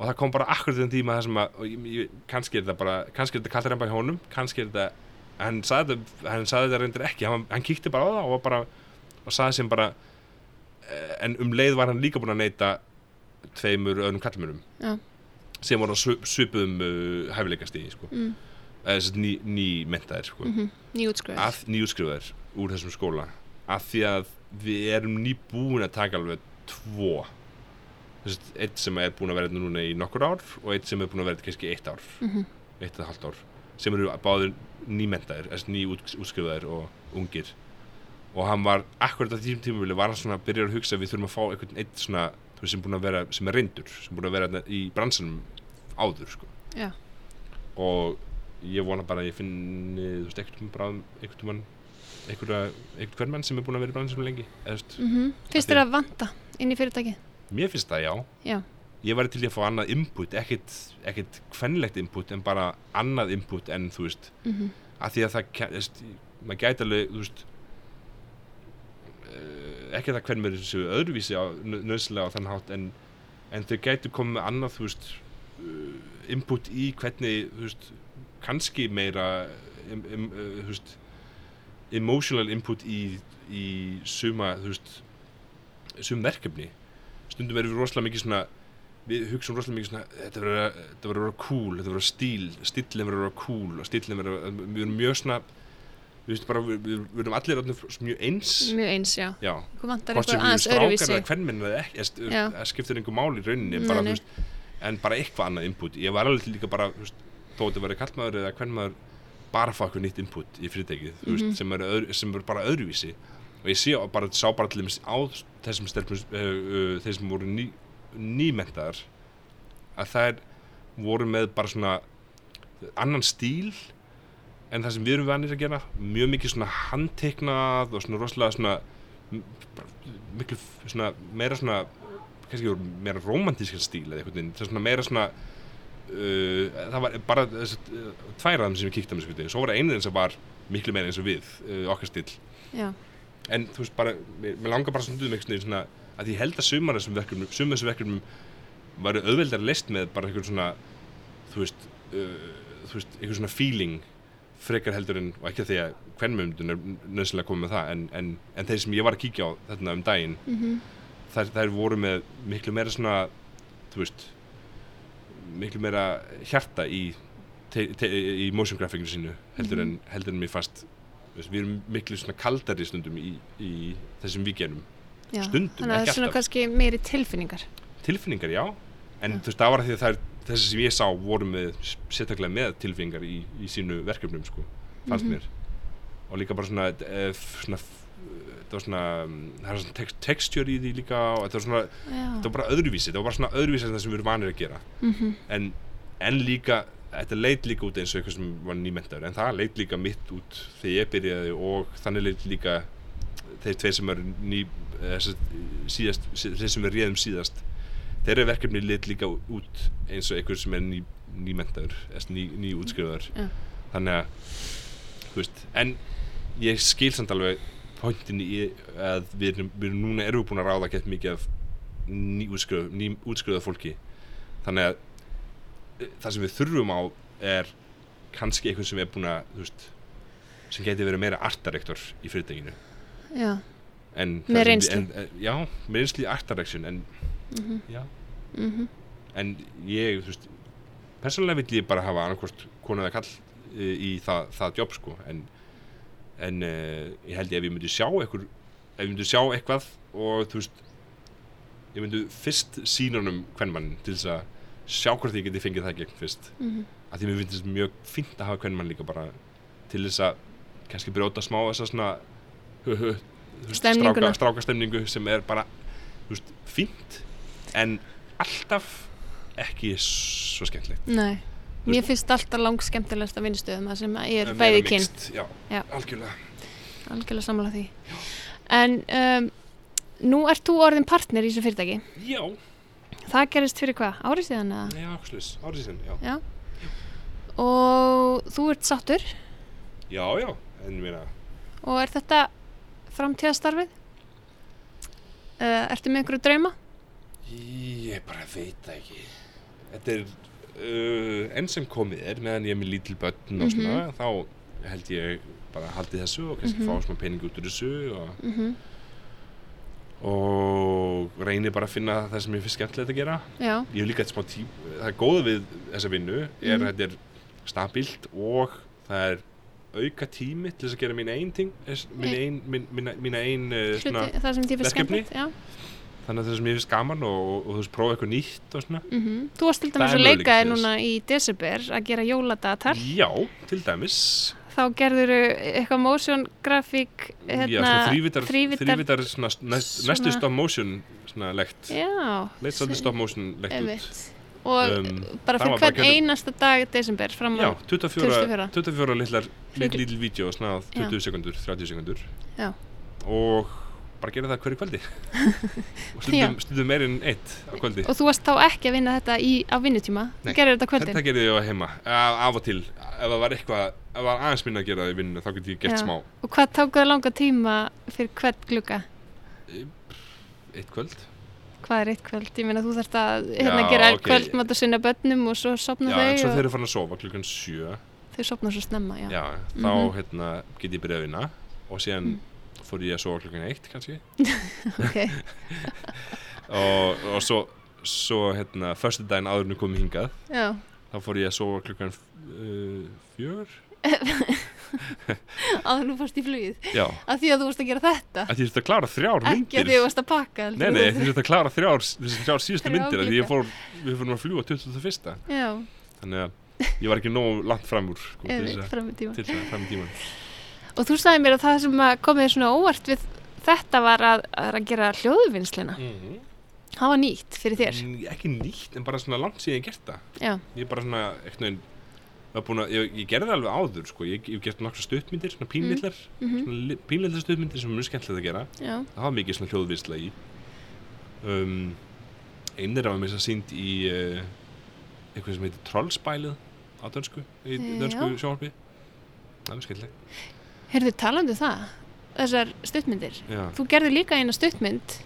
S2: og það kom bara akkurat þenn tíma það sem að og ég, ég, kannski er þetta bara, kannski er þetta kallar hjá honum kannski er þetta hann sagði þetta, hann sagði þetta reyndir ekki hann, hann kíkti bara á það og var bara og sagði sem bara eh, en um leið var hann líka búin að neyta tveimur öðrum kallmönum
S1: Já.
S2: sem voru á svi- svipuðum uh, hæfileikastíði sko.
S1: Mm.
S2: eða þessi ný, ný mentaðir sko.
S1: Mm Nýjútskruð.
S2: að nýjútskrifaðir úr þessum skóla af því að við erum nýbúin að taka alveg tvo Þessi, eitt sem er búin að vera hérna núna í nokkur ár og eitt sem er búin að vera hérna kannski eitt ár
S1: Mhm.
S2: eitt eða halvt ár sem eru báðir nýmentaðir þessi nýútskrifaðir og ungir og hann var akkurat á þessum tímabili var hann svona að byrja að hugsa að við þurfum að fá einhvern eitt svona þú veist, sem, búin að vera, sem er reyndur sem búin að vera hérna í bransanum áður sko.
S1: Já.
S2: og ég vona bara að ég finni þú veist, einhvern tímann bráðum einhvern tímann einhverja, einhvern hvern mann sem er búin að vera í bransanum lengi eða, þú veist,
S1: Mm Finnst
S2: Af því-
S1: þér að vanta inn í fyrirtækið?
S2: mér finnst það já
S1: Mm. Já.
S2: ég væri til í að fá annað input ekkit, ekkit kvenlegt input en bara annað input en þú veist
S1: Mm
S2: að því að það ke- þú veist, maður gæti alveg þú veist eh, ekki það hvern verið séu öðruvísi á, nöðslega á þann hátt en, en þau gætu komið með annað þú veist eh, input í hvernig þú veist kannski meira em, em, eh, þú veist emotional input í, í suma þú veist sum verkefni stundum erum við rosalega mikið svona við hugsaum rosalega mikið svona þetta verður að- þetta verður að vera cool, þetta verður að vera stíl stíllin verður að vera cool og stíllin verður að við erum mjög svona við, veist bara, við, við, við erum allir orðnir fr- mjög eins
S1: Mjög eins, já.
S2: já,
S1: Þú vantar eitthvað
S2: hvort sem við
S1: aðeins
S2: strákar eða
S1: öðruvísi.
S2: hvernminn eða ekki, eða,
S1: Já.
S2: eða, það skiptir einhver mál í rauninni
S1: Nei,
S2: bara,
S1: nei.
S2: þú veist, en bara eitthvað annað input ég var alveg til líka bara, þú veist, þó að þetta verður kallmaður eða hvernmaður bara að fá eitthvað nýtt input í fyrirtækið, þú veist,
S1: Mhm.
S2: sem, er öðru, sem er bara öðruvísi og ég sé bara, sá bara til dæmis á þessum stelpum uh, uh, þeir sem voru ný, nýmentaðar að þær voru með bara svona annan stíl en það sem við erum vanir að gera mjög mikið svona handteknað og svona rosalega svona m- bara miklu f- svona meira svona kannski voru meira romantískan stíl eða einhvern veginn, það er svona meira svona uh, það var bara þess, uh, tvær af þeim sem við kíktum þessu svo var einið eins og var miklu meira eins og við uh, okkar stíl
S1: Já.
S2: en þú veist bara, mér, mér langar bara stundum einhvern veginn svona að ég held að sumar þessum verkefnum, sumar þessum verkefnum varu auðveldar list með bara einhvern svona þú veist, uh, þú veist einhvern svona feeling frekar heldur en, og ekki að því að hvernmjöndun er nöðsynlega komið með það en, en, en þeir sem ég var að kíkja á þarna um daginn
S1: Mm
S2: þær, þær voru með miklu meira svona þú veist miklu meira hjarta í, te, te, í motion graphicinu sínu heldur,
S1: Mhm.
S2: en, heldur en mér fast þú veist, við erum miklu svona kaldari stundum í, í þessum víkjænum
S1: já.
S2: Stundum,
S1: Þannig að það
S2: ekki
S1: er svona
S2: alltaf.
S1: kannski meiri tilfinningar.
S2: tilfinningar já en
S1: Já.
S2: þú veist það var að því að þær, þessi sem ég sá voru með sérstaklega með tilfinningar í, í sínu verkefnum sko fannst
S1: Mhm.
S2: mér og líka bara svona, eh, f- svona f- það var svona mm, það var svona text, texture í því líka og þetta var svona
S1: Já.
S2: þetta var bara öðruvísi, þetta var bara svona öðruvísi en það sem við erum vanir að gera
S1: Mm
S2: en, en líka, þetta leit líka út eins og eitthvað sem var nýmentaður en það leit líka mitt út þegar ég byrjaði og þannig leit líka þeir tveir sem eru ný eh, sem sagt, síðast, sí- þeir sem við réðum síðast þeirra verkefni leit líka út eins og eitthvað sem er ný, nýmentaður eða sem ný, ný
S1: Já.
S2: þannig að þú veist, en ég skil samt alveg pointin í að við erum, við erum núna erum við búin að ráða gett mikið af nýútskrifuð ný útskrifuðu fólki þannig að e, það sem við þurfum á er kannski einhvern sem er búin að þú veist, sem geti verið meira artarektor í fyrirtækinu
S1: Já.
S2: en það
S1: Með
S2: sem-
S1: reynslu.
S2: en, en, já, með reynsli artareksjun en,
S1: Mm -hmm.
S2: já. en ég þú veist, persónulega vill ég bara hafa annarkvort konu eða kall e, í það, það jobb sko en, en e, ég held ég ef ég myndi sjá ekkur, ef ég myndi sjá eitthvað og þú veist ég myndi fyrst sína honum hvern mann til þess að sjá hvort ég geti fengið það í gegn fyrst
S1: Mhm.
S2: að því mér finnst þetta mjög fínt að hafa hvern mann líka bara til þess að kannski brjóta smá þess að svona hö, hö, þú veist,
S1: Stemninguna.
S2: stráka, strákastemningu sem er bara þú veist, fínt en alltaf ekki svo skemmtilegt
S1: Nei.
S2: Þú
S1: Mér
S2: veist-
S1: finnst alltaf langskemmtilegast að vinstöðum það sem er
S2: Meira
S1: bæði kyn.
S2: mixed, já,
S1: Já.
S2: algjörlega
S1: Algjörlega sammála því. En um, nú ert þú orðin partner í þessu fyrirtæki.
S2: já,
S1: Ah. Það gerist fyrir hvað? Árið síðan eða?
S2: já, ákslis, árið sinn já.
S1: Já. Og þú ert sattur
S2: já, já, en ég meina
S1: og er þetta framtíðastarfið? Uh, ertu með einhverju drauma?
S2: Ég bara veit það ekki. Þetta er uh, enn sem komið er meðan ég er með lítil börn og svona þá held ég bara að haldi þessu og kannski
S1: Mhm.
S2: fá smá pening út úr þessu og,
S1: Mm
S2: og reyni bara að finna það sem ég finnst skemmtilegt að gera.
S1: Já,
S2: Ég hef líka eitt smá tím, það er góða við þessa vinnu er
S1: Mhm.
S2: að þetta er stabílt og það er auka tími til þess að gera mín einn ting, þess- mín
S1: Nei.
S2: ein, mín, mín, mín ein uh,
S1: hluti,
S2: svona,
S1: það sem þið fyrir
S2: verkefni?
S1: skemmtilegt. Já,
S2: þannig að það sem ég finnst gaman og, og, og þú veist prófa eitthvað nýtt og svona.
S1: mhm. Þú varst til
S2: er
S1: dæmis að
S2: möguleiki
S1: leika
S2: til
S1: þér
S2: þess.
S1: núna í December að gera jóladatar.
S2: Já, til dæmis.
S1: Þá gerður eitthvað motion grafík,
S2: já,
S1: hérna,
S2: svona þrývitar,
S1: þrívíddar-
S2: þrývitar, svona, næst,
S1: svona-
S2: næstu stop motion svona lekt,
S1: Já,
S2: leitt svolítið stop motion lekt út
S1: einmitt. Og
S2: Um,
S1: bara
S2: það
S1: fyrir
S2: var bara
S1: hvern
S2: gerður-
S1: einasta dag desember fram
S2: já,
S1: á.
S2: 24,
S1: 24.
S2: 24 litlar
S1: Hluti-
S2: litil vídeo, svona 20 sekundur 30 sekundur
S1: Já.
S2: og bara gera það hverju kvöldi
S1: Já.
S2: og stundum, stundum meir en eitt á kvöldi
S1: Og þú varst þá ekki að vinna þetta í, á vinnutíma.
S2: Nei,
S1: Þú gerir þetta á kvöldin.
S2: þetta gerði ég á heima, af, af og til ef það var eitthvað, ef það var aðeins minna að gera það í vinnunni, þá geti ég gert
S1: Já.
S2: smá
S1: Og hvað tók það langa tíma fyrir hvert glugga?
S2: eitt kvöld
S1: Hvað er eitt kvöld? Ég meina þú þarft að hérna,
S2: Já,
S1: gera okay.
S2: ok.
S1: kvöldmátt og sinna börnum og svo sopna
S2: já,
S1: þau
S2: en svo
S1: og
S2: þeir eru farin að sofa klukkan 7
S1: þau sopna svo snemma, já. Mhm. Mm.
S2: já, þá hérna, get ég byrjað að vinna og síðan fór ég að sofa klukkan eitt kannski
S1: Ok,
S2: og, og svo, svo hérna, förstu daginn áður en við komum hingað
S1: já.
S2: þá fór ég að sofa klukkan uh, fjör
S1: Áður nú fórst í flugið.
S2: já,
S1: Af því að þú varst að gera þetta.
S2: að ég þurfti að klára þrjár
S1: Ekki að
S2: myndir
S1: því að þú varst að pakka. heldur
S2: nei, nei,
S1: þú?
S2: ég þurfti að klára þrjár, þessar þrjár síðustu
S1: Þrjár
S2: myndir af því ég
S1: glugga.
S2: fór, við fórum að fljúa 21.
S1: Já,
S2: þannig að ég var ekki nógu langt fram úr sko, til
S1: eða
S2: þess að-
S1: fram í tíma.
S2: til þess að fram í tíman
S1: Og þú sagði mér að það sem að komið þér svona óvart við þetta var að, að gera hljóðuvinnsluna. Það var nýtt fyrir þér.
S2: Mm, ekki nýtt, en bara svona langt síðan ég hef gert það
S1: Já,
S2: ég bara svona eitthvað einn var búin að, ég, ég gerði það alveg áður sko, ég ég hef gert nokkra stuttmyndir, svona pínlillar
S1: mhm,
S2: svona li- pínlillar stuttmyndir sem er mjög skemmtilegt að gera
S1: já,
S2: það var mikið svona hljóðvisla í um, einir af mér sem sínd í uh, eitthvað sem heitir Trollspælið á dönsku, í
S1: Já.
S2: dönsku sjónvarpi það var skemmtilegt
S1: Heyrðu, talandu það, þessar stuttmyndir.
S2: já,
S1: Þú gerði líka eina stuttmynd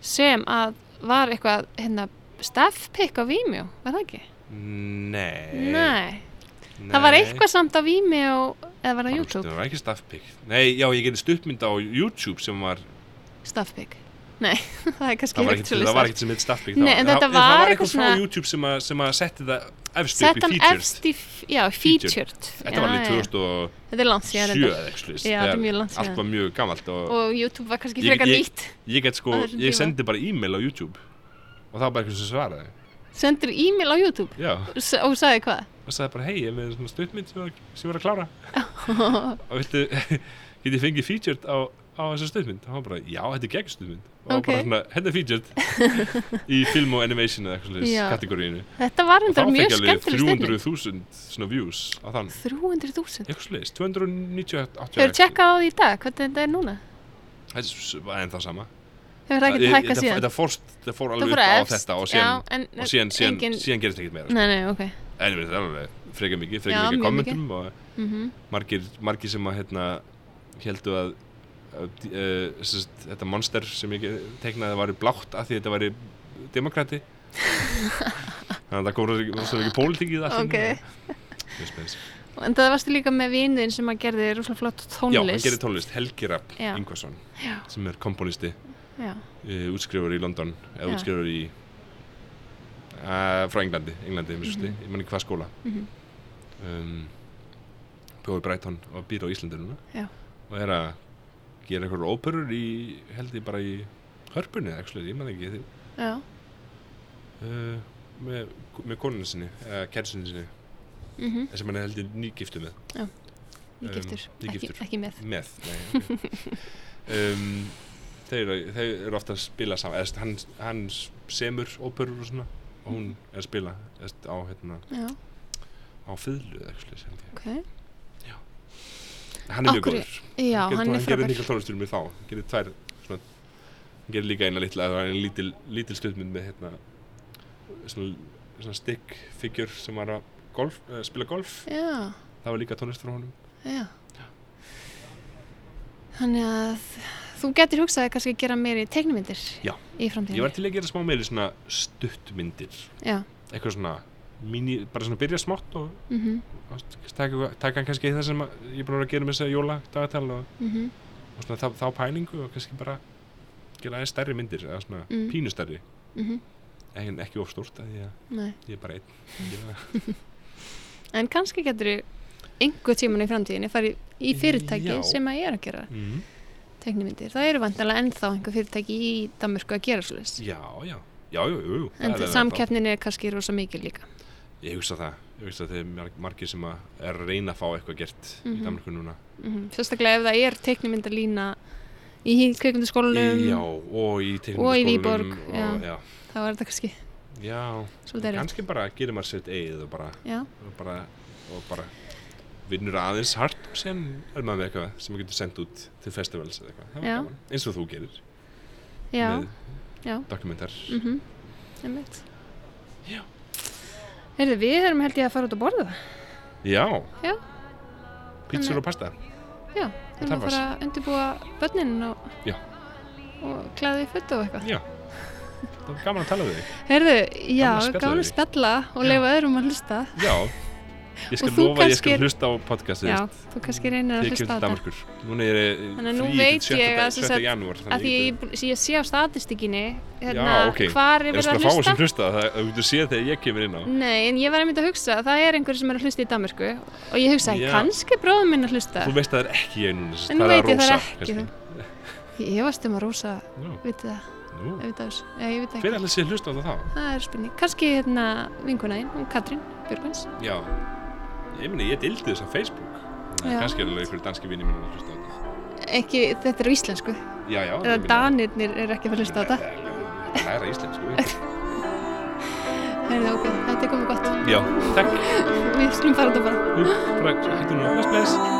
S1: sem að var eitthvað, hérna, staffpick á Vimeo, var það ekki? Nei,
S2: nei,
S1: það var
S2: Eh, nei.
S1: eitthvað samt á Vimeo, eða var það
S2: Bara
S1: YouTube?
S2: stutt- það var ekki staffpick nei, já, ég gerði stuttmynd á YouTube sem var,
S1: Staffpick. Nei, það er kannski
S2: það var
S1: ekkert
S2: ekkert
S1: svoleiðis
S2: það var
S1: þar.
S2: ekkert sem heitir staffpick
S1: Nei, en þetta var
S2: það var
S1: eitthvað
S2: eitthvað
S1: svona-
S2: frá YouTube sem að, sem að setti það efst upp
S1: Sett
S2: í
S1: hann
S2: features
S1: efst í, f- já,
S2: Featured.
S1: featured.
S2: þetta var
S1: Já,
S2: alveg
S1: já.
S2: 2007
S1: Þetta er langt síðan
S2: eða
S1: þetta.
S2: eitthvað slíks,
S1: Já, þetta er
S2: þegar
S1: mjög langt
S2: allt
S1: síðan.
S2: var mjög gamalt og
S1: Og YouTube var kannski
S2: Ég-
S1: frekar
S2: ég-
S1: nýtt.
S2: Ég get sko,
S1: Á þessum
S2: ég
S1: tíma.
S2: sendi bara e-mail á YouTube og það var bara eitthvað sem svaraði
S1: Sendur e-mail á YouTube
S2: Já,
S1: S og sagði hvað?
S2: og sagði bara hei, ég er með svona stuttmynd sem, var- sem ég var að klára og viltu, get ég fengið featured á, á þessa stuttmynd og hann bara, já, þetta er gegn stuttmynd og okay.
S1: Ok.
S2: bara svona, þetta er featured í film og animation eða eitthvað
S1: Já.
S2: slags kategoríinu
S1: Þetta var
S2: og þá
S1: undar mjög
S2: fekk ég alveg
S1: skemmtileg stuttmynd.
S2: 300.000 svona views á þann
S1: 300.000.
S2: eitthvað slags, 298
S1: Hefur tjekkað á því í dag, hvernig þetta er núna?
S2: þetta er ennþá sama
S1: Hefur það ekki
S2: Ég-
S1: hækkað
S2: þetta-
S1: síðan?
S2: þetta fórst- þetta fór
S1: Það
S2: alveg
S1: fór
S2: upp á
S1: efst,
S2: þetta og
S1: já,
S2: síðan
S1: en,
S2: og síðan, síðan,
S1: engin-
S2: síðan gerist ekkert meira sko.
S1: Nei, nei, ok.
S2: en ég veit það er alveg frekar mikið, frekar
S1: Já,
S2: mikið
S1: mjög
S2: af kommentum og
S1: Mm
S2: margir, margir sem að hérna, heldu að að, uh, sest, þetta monster sem ég teknaði var blátt af því þetta væri demokrati þannig að það kom rosa- rosa mikið pólitík í það allt í
S1: Ok.
S2: einu. Mjög spes.
S1: En það varstu líka með vinuðin sem að gerði rosalega flott
S2: Já, hann
S1: tónlist.
S2: gerir tónlist, Helgi Rapp
S1: Já.
S2: Ingvarsson
S1: Já.
S2: sem er komponisti,
S1: Já,
S2: uh, útskrifur í London eða
S1: Já.
S2: útskrifur í uh, frá Englandi, Englandi mm -hmm. ég man ekki hvað skóla
S1: Mhm.
S2: um, bjóði Brighton og býr á Íslandur núna
S1: Já.
S2: og er að gera einhverjum óperur í, held ég bara í hörpunni eða eitthvað, ég man ekki ég-
S1: já.
S2: uh, með, með konunni sinni, eða kærsunni sinni
S1: Mm -hmm.
S2: sem hann er held ég nýgiftu með
S1: Nýgiftur.
S2: Um, nýgiftur.
S1: Ekki, ekki með.
S2: með nei, ok. um, þeir, þeir eru ofta að spila saman eða, hann, hann semur óperur og svona og hún
S1: Mhm.
S2: er að spila eða, á, hérna,
S1: Já,
S2: á fiðlu eða eitthvað svoleiðis, held ég.
S1: ok.
S2: hann er mjög
S1: Af hverju-
S2: góður
S1: Já,
S2: gerði
S1: hann
S2: tón-
S1: er
S2: gerði
S1: frábær.
S2: mikla tónlistur með þá hann gerði tvær svona, hann gerði líka eina litla það var eina lítil, lítil stundmynd með hérna, svona, svona stick figure sem var að golf, uh, spila golf
S1: Já,
S2: það var líka tónlist frá honum
S1: já. Þannig að þú þú getur hugsaði kannski að gera meiri teiknumyndir
S2: Já.
S1: í framtíðinni.
S2: Ég var til í að gera smá meiri svona stuttmyndir
S1: Já,
S2: eitthvað svona mini, bara svona byrja smátt og
S1: mhm, mhm.
S2: og taka, taka hann kannski í það sem að- ég er búin að vera að gera með þessa jóla dagatal og,
S1: mhm,
S2: og svona þá, þá pælingu og kannski bara gera aðeins stærri myndir eða svona
S1: Mm.
S2: pínu stærri
S1: Mhm,
S2: en ekki of stórt að ég,
S1: nei.
S2: ég er bara einn Ég gera það.
S1: En kannski getur þú einhver tíman í framtíðinni farið í fyrirtæki
S2: Já.
S1: sem að ég er að gera
S2: mm.
S1: teknimyndir. Það eru vantanlega ennþá einhver fyrirtæki í Danmörku að gera svolítið.
S2: já, já, já, jú, jú, jú
S1: En
S2: það er-
S1: samkeppnin er kannski rosa mikil líka.
S2: ég hugsa það, ég hugsa það er mar- margir sem að er að reyna að fá eitthvað gert
S1: Mhm.
S2: í Danmarku núna
S1: Mm Sérstaklega ef það er teknimyndalína í kveikmyndaskólanum,
S2: já, og í teknikum
S1: Og í Viborg,
S2: og, já,
S1: þá er þetta kannski
S2: já,
S1: svolítið erfitt.
S2: kannski bara gerir maður sitt eigið og bara
S1: Já,
S2: og bara, og bara vinnur aðeins hart og sem er maður með eitthvað sem maður getur sendt út til festivals eða eitthvað, það var
S1: Já.
S2: gaman, eins og þú gerir
S1: já, já.
S2: með dokumentar
S1: mhm, mm einmitt.
S2: Já.
S1: Heyrðu, við erum held ég að fara út að borða það.
S2: já,
S1: Já.
S2: pítsur
S1: Þannig-
S2: og pasta
S1: Já, við erum að
S2: tapas.
S1: fara að undirbúa börnin og,
S2: Já.
S1: og klæða í fötu og eitthvað.
S2: já, það var gaman að tala við þig
S1: Heyrðu, já,
S2: Gaman að spjalla
S1: gáðum
S2: við
S1: að
S2: þig.
S1: spjalla og
S2: Já.
S1: leifa öðrum að hlusta.
S2: já, ég skal
S1: Og þú
S2: lofa að ég skal
S1: kannski-
S2: hlusta á podcastið
S1: Já,
S2: þitt
S1: þú kannski reynir
S2: þegar
S1: að
S2: ég
S1: hlusta á
S2: kemur til
S1: þetta.
S2: Danmarkur núna er ég
S1: Þannig að nú
S2: frí
S1: veit
S2: til
S1: ég að
S2: 7.
S1: sem sagt-
S2: janúar
S1: Af því ég, er búin- ég sé á statistíkinni, hérna,
S2: ok.
S1: hvar er
S2: er
S1: verið að
S2: svona að fá um
S1: hlusta?
S2: sem hlusta það þú getur séð þegar ég kemur inn á
S1: Nei, en ég var einmitt að hugsa að það er einhver sem er að hlusta í Danmörku og ég hugsaði,
S2: Já.
S1: kannski bróðum minn að hlusta.
S2: þú veist að það er ekki ég núna
S1: En nú veit ég það er ekki þú.
S2: kannski.
S1: Ég varst um að rosa,
S2: Nú,
S1: vitið það,
S2: nú.
S1: ég veit það, þessu. Nei, ég veit það
S2: hver
S1: ekki.
S2: ætla að sé að hlusta á það þá
S1: Það er spurning. Kannski hérna vinkunæðin, hún Katrín Björgvins.
S2: Já, ég meni, ég dildi þess á Facebook. Þannig
S1: Já.
S2: að kannski er alveg einhverju danski vinni minn að hlusta á þetta.
S1: Ekki, þetta er á íslensku.
S2: Já, já.
S1: Eða danirnir er ekki að fara að hlusta á þetta.
S2: þetta. Læra íslensku.
S1: Herðu, ok, þetta er komið gott.
S2: já, takk.
S1: Við slum fara þetta bara.
S2: Bara hættu nú. Bless, bless.